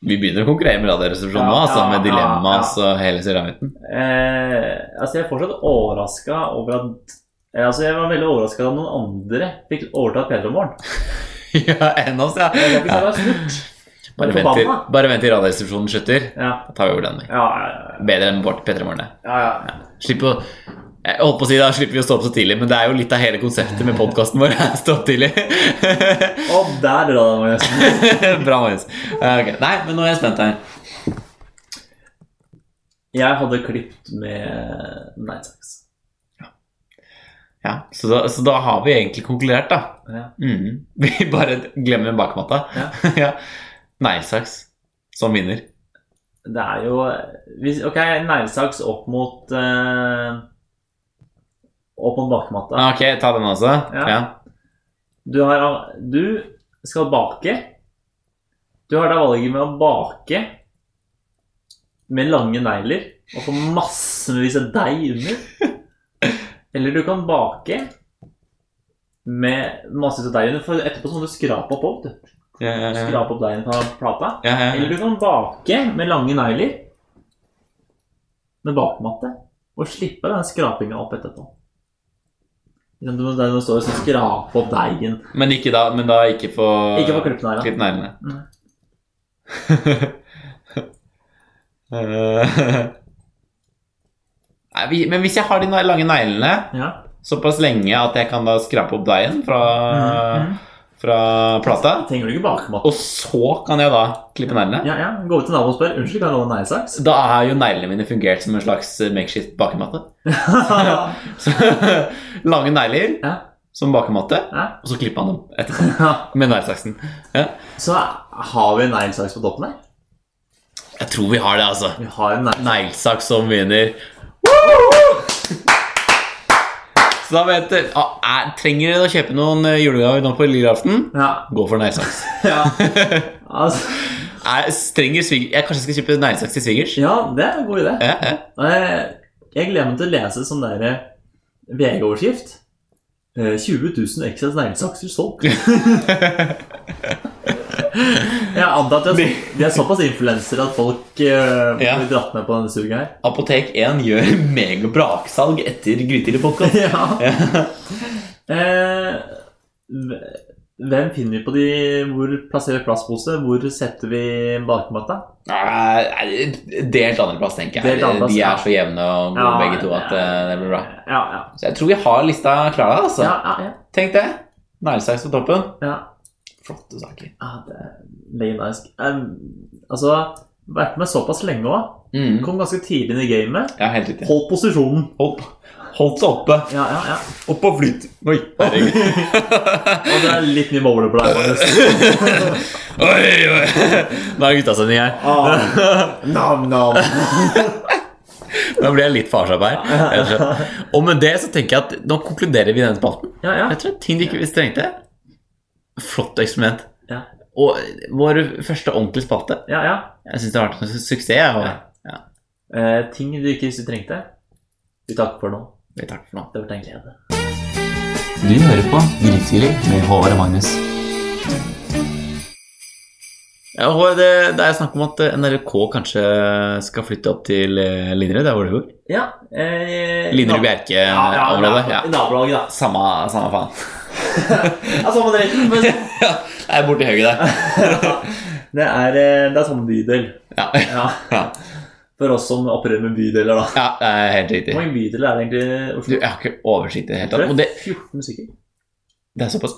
Speaker 1: vi begynner å konkurrere med Radioresepsjonen nå,
Speaker 2: Ja,
Speaker 1: altså,
Speaker 2: ja,
Speaker 1: med
Speaker 2: ja,
Speaker 1: dilemmas og hele serien.
Speaker 2: Eh, altså jeg er fortsatt overraska over at eh, Altså jeg var veldig overraska da noen andre fikk overtatt P3 Morgen.
Speaker 1: ja, enn oss, ja.
Speaker 2: Jeg kan ikke si
Speaker 1: ja.
Speaker 2: det var snurt.
Speaker 1: Bare,
Speaker 2: Men
Speaker 1: vent til,
Speaker 2: forbanna.
Speaker 1: bare vent til Radioresepsjonen slutter.
Speaker 2: Ja,
Speaker 1: Da tar vi over den. vi.
Speaker 2: ja, ja,
Speaker 1: Bedre enn vårt P3 Morgen. det.
Speaker 2: ja, ja.
Speaker 1: Slipp å jeg holdt på å si da slipper vi å stå opp så tidlig, men det er jo litt av hele konseptet med podkasten vår. Stå opp tidlig.
Speaker 2: Og der drar det meg. nesten.
Speaker 1: Bra, Magnus. Eh, ok. Nei, men nå er jeg spent her.
Speaker 2: Jeg hadde klippet med neglesaks.
Speaker 1: Ja, så da, så da har vi egentlig konkludert, da.
Speaker 2: Ja.
Speaker 1: Mhm. Vi bare glemmer bakmatta.
Speaker 2: Ja.
Speaker 1: ja. Neglesaks som vinner.
Speaker 2: Det er jo eh, hvis, Ok, neglesaks opp mot eh, Opp mot bakmatta.
Speaker 1: Ah, ok, ta den også.
Speaker 2: Ja.
Speaker 1: Ja.
Speaker 2: Du, har, du skal bake. Du har da valget med å bake med lange negler og få massevis av deig under. Eller du kan bake med massevis av deig under, for etterpå så må du skrape opp opp. Du.
Speaker 1: Ja, ja, ja.
Speaker 2: Skrape opp deigen fra plata.
Speaker 1: Ja, ja,
Speaker 2: Eller
Speaker 1: ja.
Speaker 2: du kan bake med lange negler med bakmatte og slippe den skrapinga opp etterpå. Ikke sant, Du må, der du står og sånn skrape opp deigen.
Speaker 1: Men, ikke da, men da ikke få
Speaker 2: Ikke på klippen her, da.
Speaker 1: klipp neglene.
Speaker 2: Nei.
Speaker 1: Eh, Nei, vi- men hvis jeg har de ne- lange neglene
Speaker 2: Ja.
Speaker 1: såpass lenge at jeg kan da skrape opp deigen fra,
Speaker 2: Mhm.
Speaker 1: fra plata,
Speaker 2: Trenger du ikke bakmatte?
Speaker 1: og så kan jeg da klippe neglene
Speaker 2: Ja, ja. Gå ut til naboen og spør Unnskyld, kan jeg låne neglesaks?
Speaker 1: Da har jo neglene mine fungert som en slags eh, makeshift bakematte.
Speaker 2: ja.
Speaker 1: Så, Lange negler
Speaker 2: Ja.
Speaker 1: som bakematte,
Speaker 2: Ja.
Speaker 1: og så klipper han dem etterpå med neglesaksen.
Speaker 2: Så har vi en neglesaks på toppen her.
Speaker 1: Jeg tror vi har det, altså.
Speaker 2: Vi har en neglesaks.
Speaker 1: Neglesaks som vinner. Så da vet du ah, er, Trenger dere å kjøpe noen eh, julegaver nå på lille aften?
Speaker 2: Ja.
Speaker 1: Gå for neglesaks.
Speaker 2: ja. Altså,
Speaker 1: Er- Trenger sviger... Jeg kanskje skal kjøpe neglesaks til svigers?
Speaker 2: ja, det er en god idé.
Speaker 1: Ja, ja.
Speaker 2: Og Jeg, jeg gleder meg til å lese sånn der eh, VG-overskrift. eh, 20 000 ekstra neglesakser solgt. Jeg antar at det er, så, de er såpass influensere at folk eh,
Speaker 1: Ja.
Speaker 2: blir dratt med på denne suget her.
Speaker 1: Apotek 1 gjør megabraksalg etter Grytidlig podkast.
Speaker 2: Ja. Eh, hvem finner vi på de Hvor plasserer vi plastpose? Hvor setter vi bakmatta?
Speaker 1: Nei, Delt andreplass, tenker jeg.
Speaker 2: Delt andreplass,
Speaker 1: de
Speaker 2: ja.
Speaker 1: er så jevne og gode
Speaker 2: Ja,
Speaker 1: begge to at
Speaker 2: ja.
Speaker 1: eh, det blir bra.
Speaker 2: Ja, ja.
Speaker 1: Så jeg tror vi har lista klar, altså.
Speaker 2: ja, ja, ja.
Speaker 1: Tenk det. Neglesaks på toppen.
Speaker 2: ja.
Speaker 1: Flotte saker.
Speaker 2: Ah, det er legendarisk. Um, altså, vært med såpass lenge òg.
Speaker 1: Mm.
Speaker 2: Kom ganske tidlig inn i gamet.
Speaker 1: Ja, helt riktig.
Speaker 2: Holdt posisjonen.
Speaker 1: Holdt, holdt seg oppe.
Speaker 2: Ja, ja, ja.
Speaker 1: Opp og flyt. Oi, herregud.
Speaker 2: Og det er litt mye bowler på deg. Magnus.
Speaker 1: oi, oi. Nå er gutta sine her.
Speaker 2: Ah, nam, nam.
Speaker 1: Nå blir jeg litt farsopp her. rett og slett. Og med det så tenker jeg at nå konkluderer vi denne spalten.
Speaker 2: Ja, ja.
Speaker 1: Jeg tror det er ting de ikke visste trengte. Flott eksperiment.
Speaker 2: Ja.
Speaker 1: Og vår første ordentlige spalte.
Speaker 2: ja, ja.
Speaker 1: Jeg syns det har vært en su- suksess. jeg, Og...
Speaker 2: Ja. Eh, ting du ikke visste du trengte. Vi takker for nå.
Speaker 1: Vi takker for nå.
Speaker 2: Det har vært en glede.
Speaker 1: Du hører på Grytidlig med Håvard og Magnus. Ja, Håvard, det, det er snakk om at eh, NRK kanskje skal flytte opp til eh, Linderud, der hvor du bor.
Speaker 2: Ja. Eh,
Speaker 1: Linderud
Speaker 2: Ja, ja,
Speaker 1: Bjerke-området.
Speaker 2: ja,
Speaker 1: eh,
Speaker 2: Altså,
Speaker 1: Ja,
Speaker 2: I nabolaget, da.
Speaker 1: Samme, samme faen.
Speaker 2: Ja, samme dritten, men
Speaker 1: Jeg er borti høyre der.
Speaker 2: det er, eh, det er samme bydel.
Speaker 1: Ja.
Speaker 2: Ja.
Speaker 1: Ja.
Speaker 2: For oss som opererer med bydeler, da.
Speaker 1: ja, det er helt riktig.
Speaker 2: Hvor mange bydeler er det egentlig i
Speaker 1: Du,
Speaker 2: Oslo?
Speaker 1: jeg har ikke oversikt i det hele
Speaker 2: Tror
Speaker 1: tatt. Og
Speaker 2: det
Speaker 1: det,
Speaker 2: er 14 stykker.
Speaker 1: det er såpass.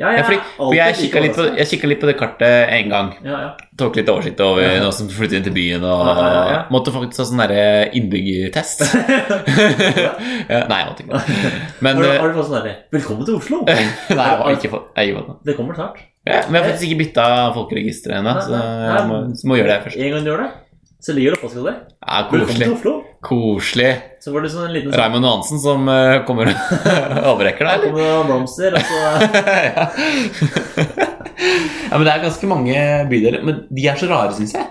Speaker 2: Ja,
Speaker 1: Ja, fordi, for jeg kikka litt, på- jeg kikket litt på det kartet en gang.
Speaker 2: altså. Ja, ja.
Speaker 1: Tok litt oversikt over
Speaker 2: Ja.
Speaker 1: noe som flyttet inn til byen. Og
Speaker 2: Ja, ja, ja.
Speaker 1: Måtte faktisk ha sånn derre innbyggertest. ja, nei, jeg måtte ikke det. Men
Speaker 2: har, du,
Speaker 1: eh,
Speaker 2: har du fått sånn derre 'Velkommen til Oslo'?
Speaker 1: Nei, jeg har ikke fått jeg har ikke fått noe.
Speaker 2: Det kommer snart.
Speaker 1: Ja, men jeg har faktisk ikke bytta folkeregisteret ennå, så jeg må, så må gjøre det først.
Speaker 2: En gang du gjør det, så ligger det postkode.
Speaker 1: Ja,
Speaker 2: 'Velkommen
Speaker 1: koselig.
Speaker 2: til Oslo'.
Speaker 1: Koselig.
Speaker 2: Så var det sånn en liten sånn
Speaker 1: Raymond Johansen som eh, kommer og overrekker
Speaker 2: Her
Speaker 1: deg, eller?
Speaker 2: kommer det blomster, og så
Speaker 1: ja. ja, men det er ganske mange bydeler. Men de er så rare, syns jeg.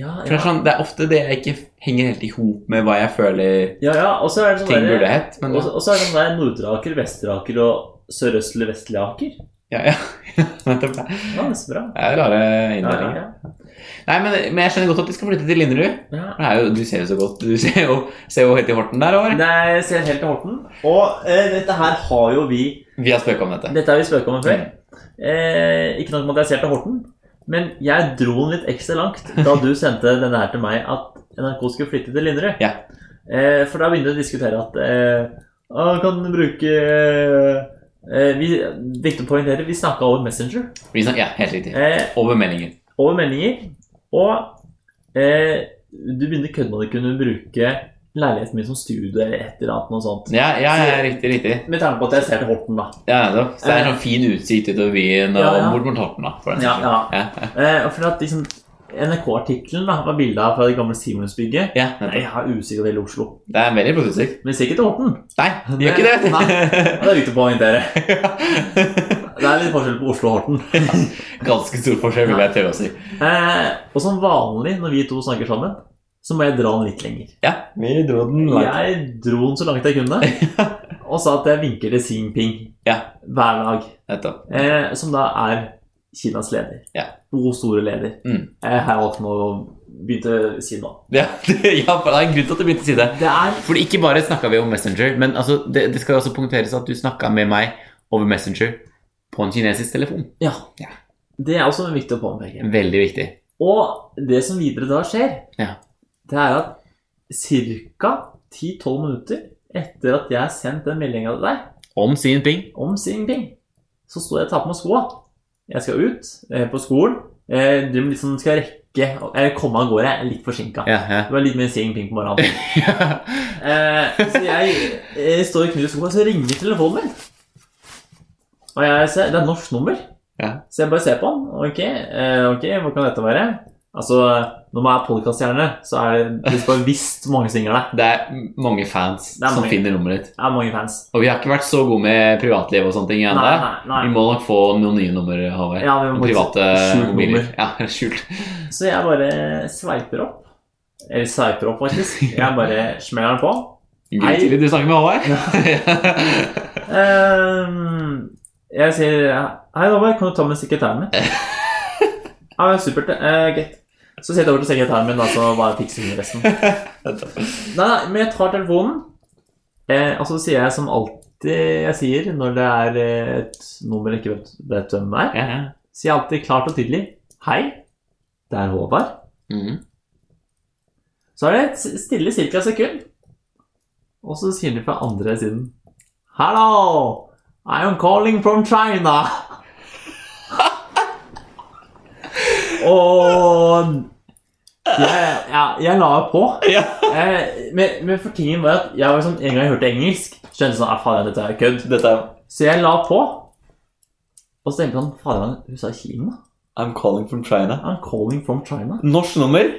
Speaker 2: Ja,
Speaker 1: For det, er
Speaker 2: ja.
Speaker 1: sånn, det er ofte det jeg ikke henger helt i hop med hva jeg føler
Speaker 2: ja, ja. Og så er det sånn
Speaker 1: ting
Speaker 2: derre-
Speaker 1: burde hett. Men
Speaker 2: Og så- og så er det sånn der Nordre Aker, Vestre Aker og Sørøstlig Vestlig Aker.
Speaker 1: ja, ja. Nettopp. Det
Speaker 2: Ja, det er så bra.
Speaker 1: er rare
Speaker 2: Ja, ja,
Speaker 1: inndelingen.
Speaker 2: ja.
Speaker 1: Nei, men, men jeg skjønner godt at de skal flytte til Linderud.
Speaker 2: Ja.
Speaker 1: Det er jo, du ser jo så godt. Du ser jo, ser jo helt i Horten der òg.
Speaker 2: Nei, jeg ser helt til Horten. Og eh, dette her har jo vi
Speaker 1: Vi har spøka om dette. Mm.
Speaker 2: Dette har vi spøket om før. Eh, ikke nok med at jeg ser til Horten, men jeg dro den litt ekstra langt da du sendte denne her til meg at NRK skulle flytte til Linderud.
Speaker 1: Ja.
Speaker 2: Eh, for da begynte vi å diskutere at eh, ah, kan du bruke eh, vi, Viktig å poengtere, vi snakka over Messenger.
Speaker 1: Vi snak- Ja, helt riktig.
Speaker 2: Eh,
Speaker 1: Over meldingen.
Speaker 2: over meldinger. Og eh, du begynte å kødde med at du kunne bruke leiligheten min som studio eller et eller annet. Noe sånt.
Speaker 1: Ja, ja, ja riktig, riktig.
Speaker 2: Med tanke på at jeg ser til Horten, da.
Speaker 1: Ja, nettopp. Så det er en sånn fin utsikt utover byen og
Speaker 2: Ja, ja.
Speaker 1: bort mot Horten, da. For den
Speaker 2: Ja,
Speaker 1: saks skyld.
Speaker 2: ja.
Speaker 1: ja.
Speaker 2: Eh, og for at liksom, NRK-artikkelen da, var bilde av fra det gamle Simonsbygget.
Speaker 1: ja,
Speaker 2: Nei,
Speaker 1: nettopp.
Speaker 2: jeg har usikker til hele Oslo.
Speaker 1: Det er en veldig flott utsikt.
Speaker 2: Men vi ser ikke til Horten. Eh,
Speaker 1: Nei, det gjør ikke det.
Speaker 2: Ja, Det er viktig å poengtere. Det er litt forskjell på Oslo og Horten.
Speaker 1: Ganske stor forskjell, vil jeg tørre å si.
Speaker 2: Eh, og som vanlig når vi to snakker sammen, så må jeg dra den litt lenger.
Speaker 1: Ja, vi dro den langt.
Speaker 2: Jeg dro den så langt jeg kunne, og sa at jeg vinker til Xi Jinping
Speaker 1: Ja.
Speaker 2: hver dag.
Speaker 1: Nettopp.
Speaker 2: Eh, som da er Kinas leder.
Speaker 1: Ja.
Speaker 2: Og store leder.
Speaker 1: Mm.
Speaker 2: Jeg har valgt nå å begynne å si nå.
Speaker 1: Ja, det, ja, for det er en grunn til at du begynte å si det.
Speaker 2: Det er
Speaker 1: Fordi ikke bare snakka vi om Messenger, men altså, det, det skal også punkteres at du snakka med meg over Messenger på en kinesisk telefon.
Speaker 2: Ja.
Speaker 1: Ja.
Speaker 2: Det er også viktig å påpeke.
Speaker 1: Veldig viktig.
Speaker 2: Og det som videre da skjer,
Speaker 1: Ja.
Speaker 2: det er at ca. 10-12 minutter etter at jeg har sendt den meldinga til deg
Speaker 1: Om Xi Jinping.
Speaker 2: om Xi Jinping, så står jeg og tar på meg skoa. Jeg skal ut eh, på skolen. Eh, driver med litt sånn skal rekke Jeg komme av gårde. Jeg er litt forsinka.
Speaker 1: Ja, ja.
Speaker 2: Det var litt mer Xi Jinping på morgenen. Eh, så jeg, eh, står og knuser skoa, så ringer telefonen min. Og jeg ser, Det er norsk nummer.
Speaker 1: Ja.
Speaker 2: Så jeg bare ser på den. Ok, eh, ok, hva kan dette være? Altså, Når man er podkaststjerne, så er det det er bare visst mange singler der.
Speaker 1: Det er mange fans
Speaker 2: Det er
Speaker 1: som
Speaker 2: mange.
Speaker 1: finner nummeret ditt.
Speaker 2: Det er mange fans.
Speaker 1: Og vi har ikke vært så gode med privatliv og sånne ting
Speaker 2: Nei,
Speaker 1: ennå.
Speaker 2: nei,
Speaker 1: Vi
Speaker 2: nei.
Speaker 1: må nok få noen nye nummer, Håvard.
Speaker 2: Ja, vi må
Speaker 1: Private
Speaker 2: skjult nummer.
Speaker 1: mobiler. Ja, skjult.
Speaker 2: Så jeg bare sveiper opp. Eller sveiper opp, faktisk. Jeg bare smeller den på.
Speaker 1: Grytidlig du snakker med Håvard.
Speaker 2: ehm, jeg sier Hei, Håvard, kan du ta med sekretæren min? Ja, supert. det. Eh, Greit. Så sier jeg det over til sekretæren min, da, så bare fikser hun resten. Nei, nei, men jeg tar telefonen. Eh, og så sier jeg som alltid jeg sier når det er eh, et nummer jeg ikke vet, vet hvem er,
Speaker 1: Ja, ja.
Speaker 2: sier jeg alltid klart og tydelig Hei, det er Håvard.
Speaker 1: Mm.
Speaker 2: Så er det et s- stille cirka sekund. Og så sier de fra andre siden Hello, I am calling from China. Og jeg, jeg, jeg la på.
Speaker 1: Ja.
Speaker 2: Eh, men, men for tingen var at jeg var sånn, en gang jeg hørte engelsk, så kjente jeg sånn, «Ah, faen, dette er kødd.
Speaker 3: Dette er
Speaker 2: Så jeg la på. Og så tenkte jeg sånn, faen, hun sa Kina.
Speaker 3: I'm calling from China.
Speaker 2: I'm calling from China.
Speaker 3: Norsk nummer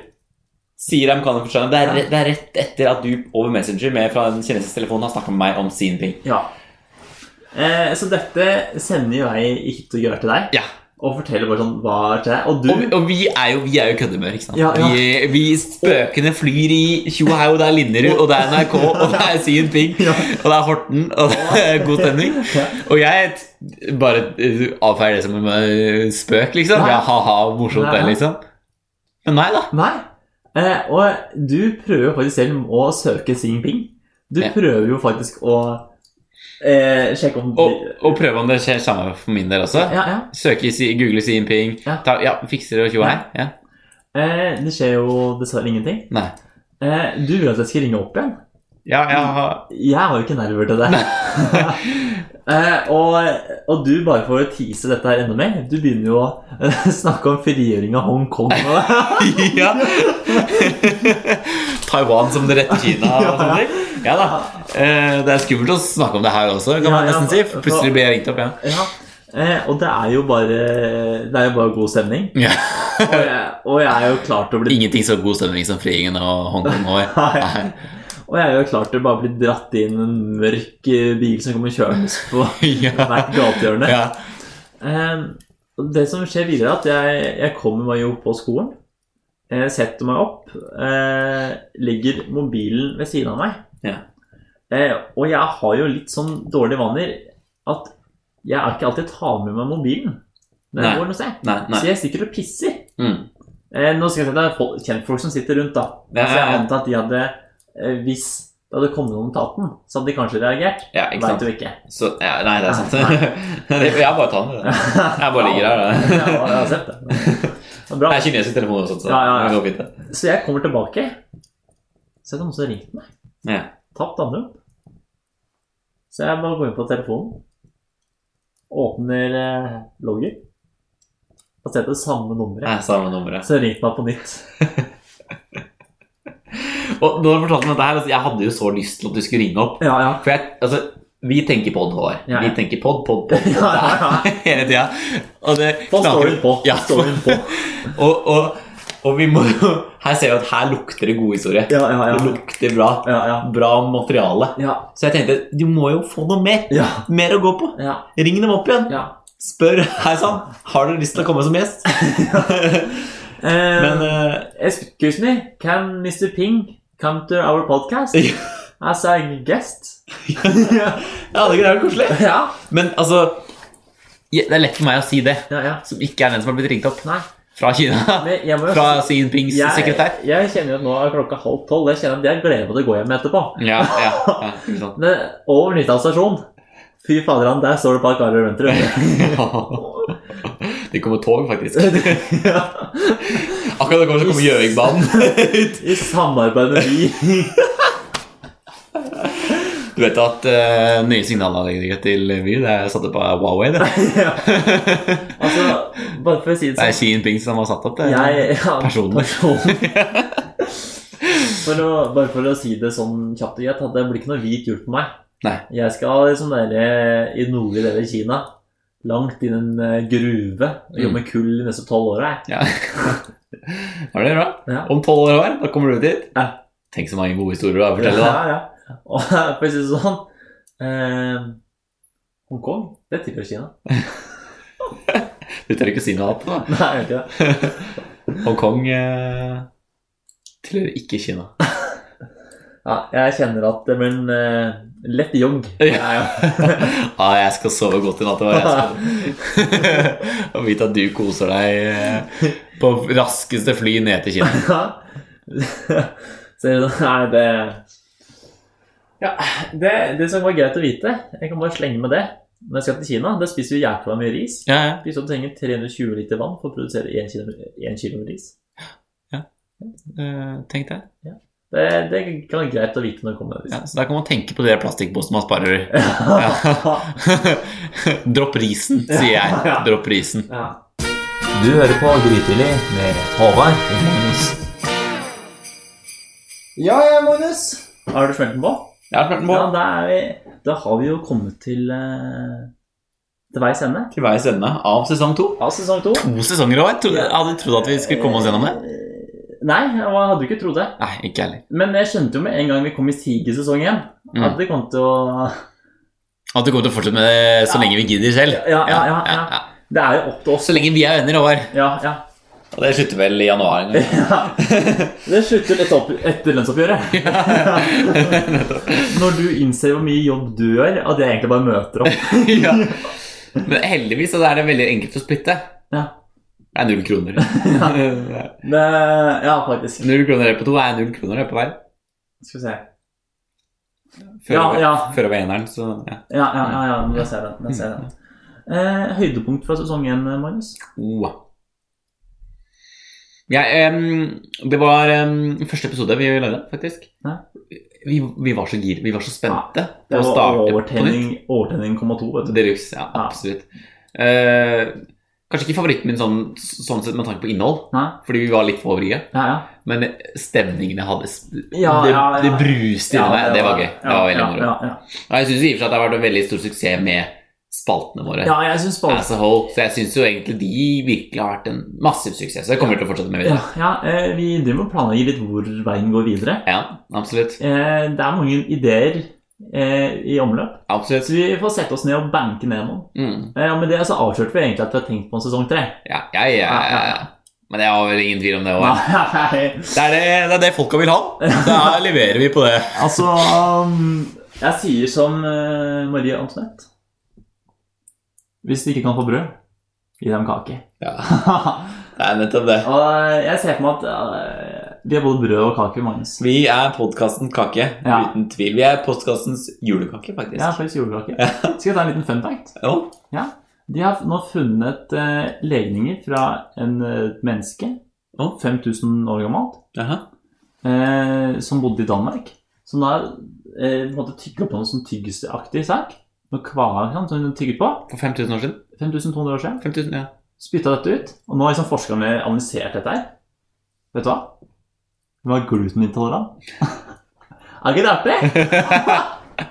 Speaker 3: sier I'm calling from China. Det er, re- det er rett etter at du over Messenger med fra en kinesisk telefon har snakket med meg om sin bil.
Speaker 2: Ja. Eh, så dette sender jo jeg ikke til å gjøre til deg.
Speaker 1: Ja.
Speaker 2: Og forteller bare sånn hva er til deg. Og du
Speaker 1: Og, og vi er jo, vi er jo køddemør, ikke sant?
Speaker 2: Ja, ja.
Speaker 1: Vi, vi spøkene flyr i tjo og hei, og det er Linderud, og det er NRK, og det er Xi Jinping,
Speaker 2: Ja.
Speaker 1: og det er Horten, og det er god stemning.
Speaker 2: Ja.
Speaker 1: Og jeg t- bare uh, avfeier det som en uh, spøk, liksom.
Speaker 2: Nei.
Speaker 1: Ja, ha-ha, morsomt det,
Speaker 2: Nei.
Speaker 1: liksom. Men nei da.
Speaker 2: Nei. Eh, og du prøver jo faktisk selv å søke Xi Jinping. Du
Speaker 1: Ja.
Speaker 2: prøver jo faktisk å eh, sjekke om
Speaker 1: Og, og prøve om det skjer samme for min del også.
Speaker 2: Ja, ja.
Speaker 1: Søke, si, google Xi Jinping,
Speaker 2: Ja.
Speaker 1: ta, ja, fikser det og tjo og hei. Ja.
Speaker 2: Eh, det skjer jo dessverre ingenting.
Speaker 1: Nei.
Speaker 2: Eh, du vil at jeg skal ringe opp igjen?
Speaker 1: Ja, ja, ha.
Speaker 2: Jeg har jo ikke nerver til det. eh, og, og du, bare for å tease dette her enda mer, du begynner jo å eh, snakke om frigjøring av Hongkong. Og,
Speaker 1: ja. Taiwan som det rette Kina og sånne ting. Ja da. Eh, Det er skummelt å snakke om det her også, kan man
Speaker 2: Ja, ja,
Speaker 1: nesten si.
Speaker 2: for-
Speaker 1: Plutselig blir jeg ringt opp igjen.
Speaker 2: ja. eh, og det er jo bare Det er jo bare god stemning.
Speaker 1: Ja.
Speaker 2: Og jeg, og jeg er jo klar til å bli
Speaker 1: Ingenting så god stemning som friingen og Hongkong år.
Speaker 2: Nei. Og jeg er jo klar til å bare bli dratt inn i en mørk eh, bil som kommer kjørende på
Speaker 1: Ja.
Speaker 2: hvert gatehjørne.
Speaker 1: Ja.
Speaker 2: Eh, og det som skjer videre, er at jeg, jeg kommer meg jo på skolen. Jeg setter meg opp, eh, legger mobilen ved siden av meg.
Speaker 3: Ja.
Speaker 2: Eh, og jeg har jo litt sånn dårlige vaner at jeg er ikke alltid tar med meg mobilen når
Speaker 3: Nei.
Speaker 2: jeg går noe sted.
Speaker 3: Nei, nei.
Speaker 2: Så jeg sitter og pisser.
Speaker 3: Mm.
Speaker 2: Eh, nå skal jeg si at det er folk, kjentfolk som sitter rundt, da.
Speaker 3: Ja,
Speaker 2: Så jeg
Speaker 3: ja,
Speaker 2: antar at de hadde eh, Hvis det hadde kommet noen til 18, så hadde de kanskje reagert.
Speaker 3: ja, ikke
Speaker 2: Veit
Speaker 3: sant.
Speaker 2: du ikke.
Speaker 3: Så, ja, nei, det er sant. Jeg bare tar den. Jeg bare ligger her. da.
Speaker 2: Ja, jeg har sett det. Det er Bra.
Speaker 3: Det er kinesisk telefon også, så
Speaker 2: Ja, ja, ja.
Speaker 3: det går fint. det.
Speaker 2: Så jeg kommer tilbake. Så er det noen som har ringt meg.
Speaker 3: Ja.
Speaker 2: Tapt andrum. Så jeg bare går inn på telefonen, åpner eh, logger, og ser at det er samme nummeret.
Speaker 3: Nei, samme nummeret.
Speaker 2: Så har de ringt meg på nytt.
Speaker 3: Og når du fortalte meg dette her, altså, jeg hadde jo så lyst til at du skulle ringe opp.
Speaker 2: Ja, ja.
Speaker 3: For jeg, altså, vi tenker pod, Håvard.
Speaker 2: Ja, ja.
Speaker 3: Vi tenker pod, pod, pod. pod.
Speaker 2: ja, ja, ja.
Speaker 1: Hele tida. Og det
Speaker 2: Få storyen på.
Speaker 1: Ja.
Speaker 2: Få storyen på.
Speaker 3: Og, og, og vi må jo Her ser vi at her lukter det god historie.
Speaker 2: Ja, ja,
Speaker 3: Det
Speaker 2: ja.
Speaker 3: lukter bra.
Speaker 2: Ja, ja.
Speaker 3: Bra materiale.
Speaker 2: Ja,
Speaker 3: Så jeg tenkte du må jo få noe mer.
Speaker 2: ja.
Speaker 3: Mer å gå på.
Speaker 2: ja,
Speaker 3: Ring dem opp igjen.
Speaker 2: ja.
Speaker 3: Spør Hei sann, har du lyst til å komme som gjest?
Speaker 2: Eh,
Speaker 3: Men eh,
Speaker 2: excuse me, can Mr. Ping come to our podcast
Speaker 3: Ja.
Speaker 2: as a guest?
Speaker 3: Ja, det er jo koselig.
Speaker 2: ja,
Speaker 1: Men altså ja, Det er lett for meg å si det,
Speaker 2: ja, ja.
Speaker 1: som ikke er den som har blitt ringt opp
Speaker 2: Nei,
Speaker 1: fra Kina.
Speaker 2: men jeg må jo
Speaker 1: Fra Xi Jinpings
Speaker 2: jeg,
Speaker 1: sekretær.
Speaker 2: jeg kjenner jo at nå er klokka halv tolv. Jeg kjenner at jeg gleder meg til å gå hjem etterpå.
Speaker 1: Ja, ja, ja, ikke sant.
Speaker 2: Men over Nyttdal stasjon Fy fader, han, der står det et par karer rundt rundt.
Speaker 3: Det kommer tog, faktisk.
Speaker 2: ja.
Speaker 3: Akkurat nå kommer- så kommer Gjøvikbanen ut.
Speaker 2: I samarbeid med Vy.
Speaker 1: Du vet at eh, nye signalanlegget til Vy det er satt opp av Huawei? Det,
Speaker 2: ja. Altså, bare for å si det
Speaker 1: det er
Speaker 2: sånn.
Speaker 1: Xi Jinping som har satt opp det.
Speaker 2: Jeg, ja,
Speaker 1: personlig.
Speaker 2: personlig. For å, bare for å si det sånn kjapt og greit, at det blir ikke noe hvit jul på meg.
Speaker 1: Nei.
Speaker 2: Jeg skal liksom der, i nordlige deler av Kina, langt inn i en eh, gruve, og
Speaker 1: Mm.
Speaker 2: jobbe med kull de neste tolv åra. jeg.
Speaker 1: Ja. Var det bra?
Speaker 2: Ja.
Speaker 1: Om tolv år, da kommer du dit.
Speaker 2: Ja.
Speaker 1: Tenk så mange gode historier du har å fortelle, da.
Speaker 2: Ja, ja. Og for å si det sånn eh, Hongkong, det tilhører Kina.
Speaker 1: Du tør ikke si noe annet. da.
Speaker 2: Nei, jeg gjør ikke det.
Speaker 1: Hongkong eh, tilhører ikke Kina.
Speaker 2: Ja, jeg kjenner at det blir en eh, lett jogg.
Speaker 3: Ja, ah, jeg skal sove godt i natt. og jeg skal- Og vite at du koser deg eh,
Speaker 1: På raskeste fly ned til Kina.
Speaker 2: Ser du det? Nei, det Ja, det, det som var greit å vite Jeg kan bare slenge med det. Når jeg skal til Kina, der spiser vi jækla mye ris.
Speaker 1: Ja, ja.
Speaker 2: Hvis du trenger 320 liter vann for å produsere 1 kilo, en kilo med ris.
Speaker 1: Eh, Tenk det.
Speaker 2: Det, det kan være greit å vite når det kommer.
Speaker 1: Ja, så da kan man tenke på de der plastikkposene man sparer.
Speaker 2: Ja.
Speaker 1: Dropp risen, sier jeg. Dropp risen.
Speaker 2: ja.
Speaker 4: Du hører på Grytidlig med Håvard og Magnus.
Speaker 5: Ja, ja, Magnus.
Speaker 2: Har du smelt den på?
Speaker 3: Jeg har smurt den
Speaker 2: Ja,
Speaker 3: på.
Speaker 2: da, er vi, da har vi jo kommet til, eh, til veis ende
Speaker 3: Til veis ende av sesong to.
Speaker 2: av sesong to.
Speaker 1: To sesonger over. Trodde, jeg hadde trodd at vi skulle komme oss gjennom det.
Speaker 2: Eh, Nei, jeg hadde jo ikke trodd det.
Speaker 1: Nei, ikke heller.
Speaker 2: Men jeg skjønte jo med en gang vi kom i siget sesong igjen,
Speaker 1: Mm.
Speaker 2: at det kom til å
Speaker 1: At du kommer til å fortsette med det så lenge vi gidder selv.
Speaker 2: Ja, ja, ja. ja.
Speaker 1: ja.
Speaker 2: Det er jo opp til oss.
Speaker 1: Så lenge vi er venner, Håvard.
Speaker 2: Ja, ja.
Speaker 3: Og det slutter vel i januar. en gang.
Speaker 2: ja. Det slutter litt opp etter lønnsoppgjøret. Når du innser hvor mye jobb du gjør, at jeg egentlig bare møter opp.
Speaker 3: ja. Men heldigvis så er det veldig enkelt å splitte.
Speaker 2: Ja.
Speaker 3: Det er null kroner.
Speaker 2: Det, ja, faktisk.
Speaker 3: Null kroner her på to er null kroner her på hver.
Speaker 2: Skal vi se.
Speaker 3: Før,
Speaker 2: Ja, ja.
Speaker 3: før det var eneren, så ja.
Speaker 2: Ja, ja, ja, ja men da ser jeg den. Da ser jeg den. Eh, høydepunkt fra sesong én, Magnus?
Speaker 3: Oh. Jeg, em, det var em, første episode vi lagde, faktisk.
Speaker 2: Ja.
Speaker 3: Vi, vi var så gira, vi var så spente på
Speaker 2: Det
Speaker 3: å
Speaker 2: var
Speaker 3: starte på nytt.
Speaker 2: overtenning, overtenning komma to, vet du.
Speaker 3: Det russ, ja,
Speaker 2: Ja.
Speaker 3: absolutt. Eh, kanskje ikke favoritten min sånn, sånn sett med tanke på innhold,
Speaker 2: Nei?
Speaker 3: fordi vi var litt for ivrige.
Speaker 2: Ja, ja.
Speaker 3: Men stemningen jeg hadde sp-
Speaker 2: Ja,
Speaker 3: det,
Speaker 2: ja, ja.
Speaker 3: det bruste inni meg. Det var gøy. Det var veldig
Speaker 2: ja,
Speaker 3: moro.
Speaker 2: Ja, ja.
Speaker 3: Og jeg syns i og for seg at det har vært en veldig stor suksess med spaltene våre.
Speaker 2: ja, jeg syns bare
Speaker 3: As a whole. Så jeg syns jo egentlig de virkelig har vært en massiv suksess. Så det kommer vi til å fortsette med
Speaker 2: ja,
Speaker 3: videre.
Speaker 2: ja, eh, Vi driver og planlegger litt hvor veien går videre.
Speaker 3: Ja, absolutt.
Speaker 2: Eh, Det er mange ideer eh, i omløp,
Speaker 3: Absolutt.
Speaker 2: så vi får sette oss ned og banke ned noen.
Speaker 3: Mm.
Speaker 2: Eh, og Med det så avslørte vi egentlig at vi har tenkt på en sesong tre.
Speaker 3: Ja, ja, ja, ja, ja. Men jeg har vel ingen tvil om det òg.
Speaker 2: Nei,
Speaker 1: Det er det, det er det folka vil ha. Da leverer vi på det.
Speaker 2: altså um, Jeg sier som eh, Marie Antoinette. Hvis de ikke kan få brød, gi dem kake.
Speaker 3: Det er nettopp det.
Speaker 2: og jeg ser for meg at eh, vi har både brød og kake, Magnus.
Speaker 3: Vi er podkasten Kake,
Speaker 2: Ja.
Speaker 3: uten tvil. Vi er postkastens julekake, faktisk.
Speaker 2: Ja, faktisk julekake. Skal jeg ta en liten fun fact?
Speaker 3: Jo.
Speaker 2: De har nå funnet eh, legninger fra en, eh, et menneske,
Speaker 3: Å.
Speaker 2: 5000 år gammelt,
Speaker 3: Jaha.
Speaker 2: eh, som bodde i Danmark. Som da eh, måtte tygge på noe sånn tyggesaktig sak. Noe kvar sånn, som hun tygget på.
Speaker 3: For 5000 år siden?
Speaker 2: 5200 år siden.
Speaker 3: 5000, ja.
Speaker 2: Spytta dette ut. Og nå har liksom forskerne analysert dette her. Vet du hva? Hun var glutenintolerant. er ikke det artig?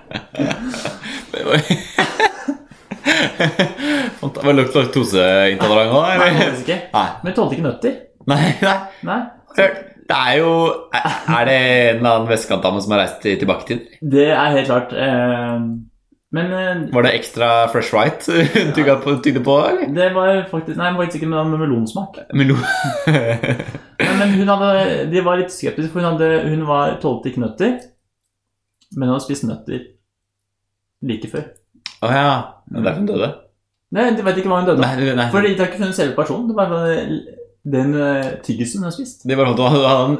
Speaker 1: Fant- Var lagt laktoseintolerant nå,
Speaker 2: Nei,
Speaker 1: eller?
Speaker 2: faktisk ikke.
Speaker 1: Nei.
Speaker 2: Men hun tålte ikke nøtter.
Speaker 1: Nei, nei.
Speaker 2: Nei.
Speaker 1: Det er jo Er det en eller annen vestkantdame som har reist til- tilbake til?
Speaker 2: Det er helt klart. Eh, men eh,
Speaker 1: Var det ekstra fresh white hun tygde på, tygde på eller?
Speaker 2: Det var faktisk Nei, faktisk ikke med, med melonsmak.
Speaker 1: Melo.
Speaker 2: Men, men hun hadde, de var litt skeptiske, for hun, hadde, hun var tålte ikke nøtter. Men hun hadde spist nøtter like før.
Speaker 1: Å ja. Det er derfor hun døde?
Speaker 2: Nei, De vet ikke hva hun døde
Speaker 1: Nei,
Speaker 2: av.
Speaker 1: nei.
Speaker 2: For de har ikke funnet selve personen. Det var bare den eh, tyggisen hun har spist.
Speaker 1: Det var sånn at hun hadde en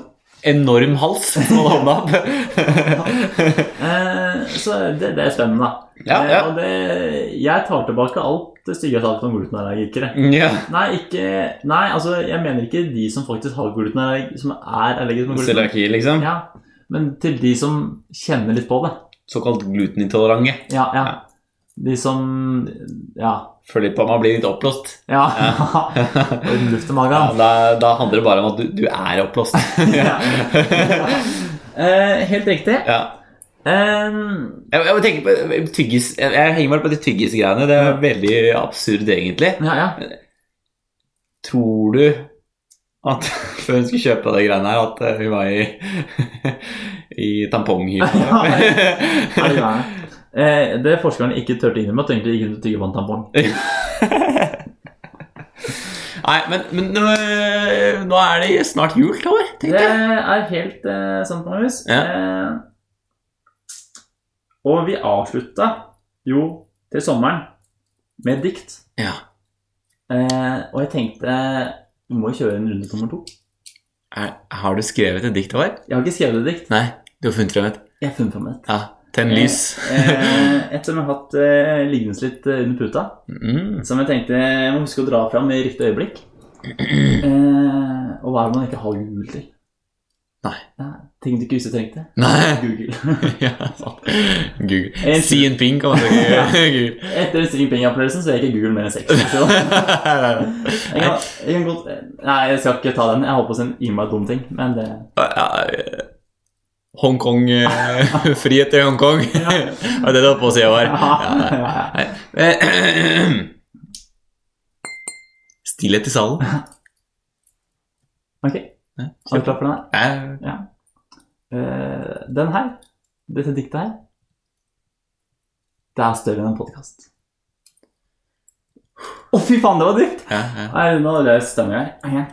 Speaker 1: enorm hals som hadde hånda opp.
Speaker 2: Eh, så det, det er spennende, da.
Speaker 1: Ja,
Speaker 2: Eh,
Speaker 1: ja.
Speaker 2: og det, jeg tar tilbake alt det stygge jeg har sagt om glutenallergikere.
Speaker 1: ja.
Speaker 2: Nei, ikke, nei, altså, jeg mener ikke de som faktisk har glutenallergi, som er allergiske mot gluten.
Speaker 1: Cøliaki, liksom.
Speaker 2: Ja, men til de som kjenner litt på det.
Speaker 1: Såkalt glutenintolerante.
Speaker 2: Ja, ja. De som Ja.
Speaker 1: Føler litt på at man blir litt oppblåst.
Speaker 2: ja. Orden Luft i
Speaker 1: Ja,
Speaker 2: magen.
Speaker 1: da, da handler det bare om at du, du er oppblåst.
Speaker 2: Ja. Eh, helt riktig.
Speaker 1: Ja.
Speaker 2: Eh,
Speaker 1: Jeg, jeg, må tenke på tyggis, jeg, jeg henger meg på de tyggisgreiene. Det er veldig absurd, egentlig.
Speaker 2: ja, ja.
Speaker 1: Tror du at før hun skulle kjøpe de greiene her, at eh, hun var i, i tamponghylla?
Speaker 2: Er det greiene? Eh, det forskerne ikke turte innrømme, at egentlig gikk hun til tygge på en tampong.
Speaker 1: Nei, men, men nå, eh, nå er det snart jul, Tover.
Speaker 2: Det er helt eh, sant, Magnus.
Speaker 1: Ja.
Speaker 2: Eh, Og vi avslutta jo til sommeren med et dikt.
Speaker 1: Ja.
Speaker 2: Eh, og jeg tenkte vi må jo kjøre en runde nummer to.
Speaker 1: Er, har du skrevet et dikt over?
Speaker 2: Jeg har ikke skrevet et dikt.
Speaker 1: Nei, du har funnet frem et.
Speaker 2: Jeg har funnet fram et.
Speaker 1: Ja, tenn lys.
Speaker 2: Eh, et som jeg har hatt eh, liggende litt eh, under puta.
Speaker 1: Mm.
Speaker 2: Som jeg tenkte jeg må huske å dra fram i riktig øyeblikk. Eh, og hva er det man ikke har Google til?
Speaker 1: Nei.
Speaker 2: ting du ikke visste du trengte?
Speaker 1: Nei.
Speaker 2: Google.
Speaker 1: ja, sånn. sant. Google.
Speaker 2: En-
Speaker 1: Xi Jinping kan man tenke. Google.
Speaker 2: Etter Xi Jinping-opplevelsen så er ikke Google mer enn seks. Så. Jeg kan, jeg kan godt, nei, jeg skal ikke ta den. Jeg holdt på å si en innmari dum ting, men det
Speaker 1: Ja, eh, Hongkong eh, Frihet i Hongkong.
Speaker 2: Ja.
Speaker 1: Var det det du holdt på å si i år? Ja, nei, nei. Eh, Stillhet i salen.
Speaker 2: Ok,
Speaker 1: Ja,
Speaker 2: er du klar for den her?
Speaker 1: Eh,
Speaker 2: Eh, den her, dette diktet her, det er større enn en podkast. Å, fy faen, det var dypt!
Speaker 1: ja, ja.
Speaker 2: Nei, nå løs stemmer jeg. Hei, hei.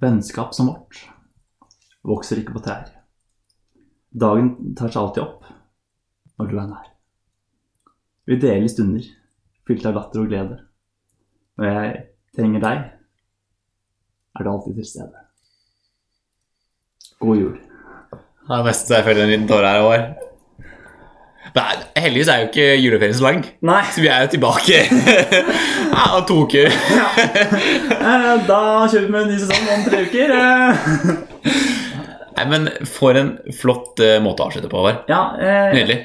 Speaker 2: Vennskap som vårt vokser ikke på trær. Dagen tar seg alltid opp når du er nær. Vi deler stunder fylt av latter og glede. Når jeg trenger deg, er du alltid til stede. God jul.
Speaker 1: Det er best jeg føler en liten tåre her i år. Men heldigvis er jo ikke juleferien så lang,
Speaker 2: Nei,
Speaker 1: så vi er jo tilbake ja, om to uker.
Speaker 2: eh, da kjører vi med en ny sesong om tre uker. Eh,
Speaker 1: Nei, men for en flott eh, måte å avslutte på, Håvard.
Speaker 2: Ja, eh,
Speaker 1: Nydelig.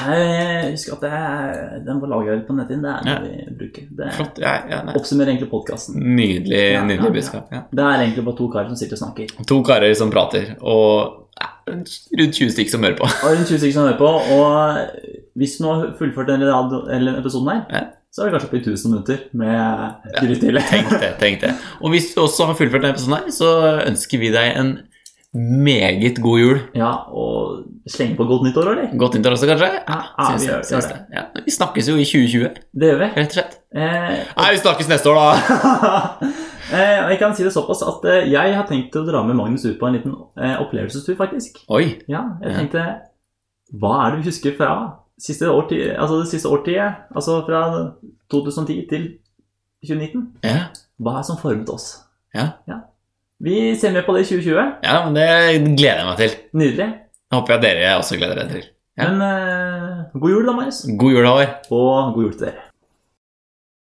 Speaker 2: Jeg husker at det er, den var lagra på netthinnen. Det er det vi bruker. Det
Speaker 1: Flott. Ja, ja, nei.
Speaker 2: oppsummerer egentlig podkasten.
Speaker 1: Nydelig,
Speaker 2: Ja, ja, ja.
Speaker 1: nydelig budskap. Ja.
Speaker 2: Det er egentlig bare to karer som sitter og snakker.
Speaker 1: To karer som prater, og ja, rundt 20 stykker som hører på.
Speaker 2: Og rundt 20 stykker som hører på. Og hvis du nå har fullført denne radio, eller episoden her,
Speaker 1: Ja.
Speaker 2: så er det kanskje oppe i 1000 minutter med grytidlig.
Speaker 1: Tenk det, tenk det. Og hvis du også har fullført denne episoden, her, så ønsker vi deg en meget god jul.
Speaker 2: Ja, og slenge på godt nyttår, eller?
Speaker 1: Godt nyttår også, kanskje?
Speaker 2: Ja, ja, vi
Speaker 1: Syns-
Speaker 2: gjør-
Speaker 1: syns
Speaker 2: gjør
Speaker 1: det. Ja, vi snakkes jo i 2020,
Speaker 2: Det gjør vi.
Speaker 1: rett og slett.
Speaker 2: Eh,
Speaker 1: Nei, vi snakkes neste år, da!
Speaker 2: eh, og jeg kan si det såpass at eh, jeg har tenkt å dra med Magnus ut på en liten eh, opplevelsestur, faktisk.
Speaker 1: Oi.
Speaker 2: Ja, jeg
Speaker 1: Ja.
Speaker 2: tenkte Hva er det vi husker fra siste årti, altså det siste årtiet? Altså fra 2010 til 2019?
Speaker 1: Ja,
Speaker 2: Hva er det som formet oss?
Speaker 1: Ja.
Speaker 2: Vi ser med på det i 2020.
Speaker 1: ja men det gleder jeg meg til.
Speaker 2: Nydelig.
Speaker 1: Det håper jeg dere også gleder dere til. Ja.
Speaker 2: Men eh, god jul, da, Marius.
Speaker 1: God jul, Håvard.
Speaker 2: Og god jul til dere.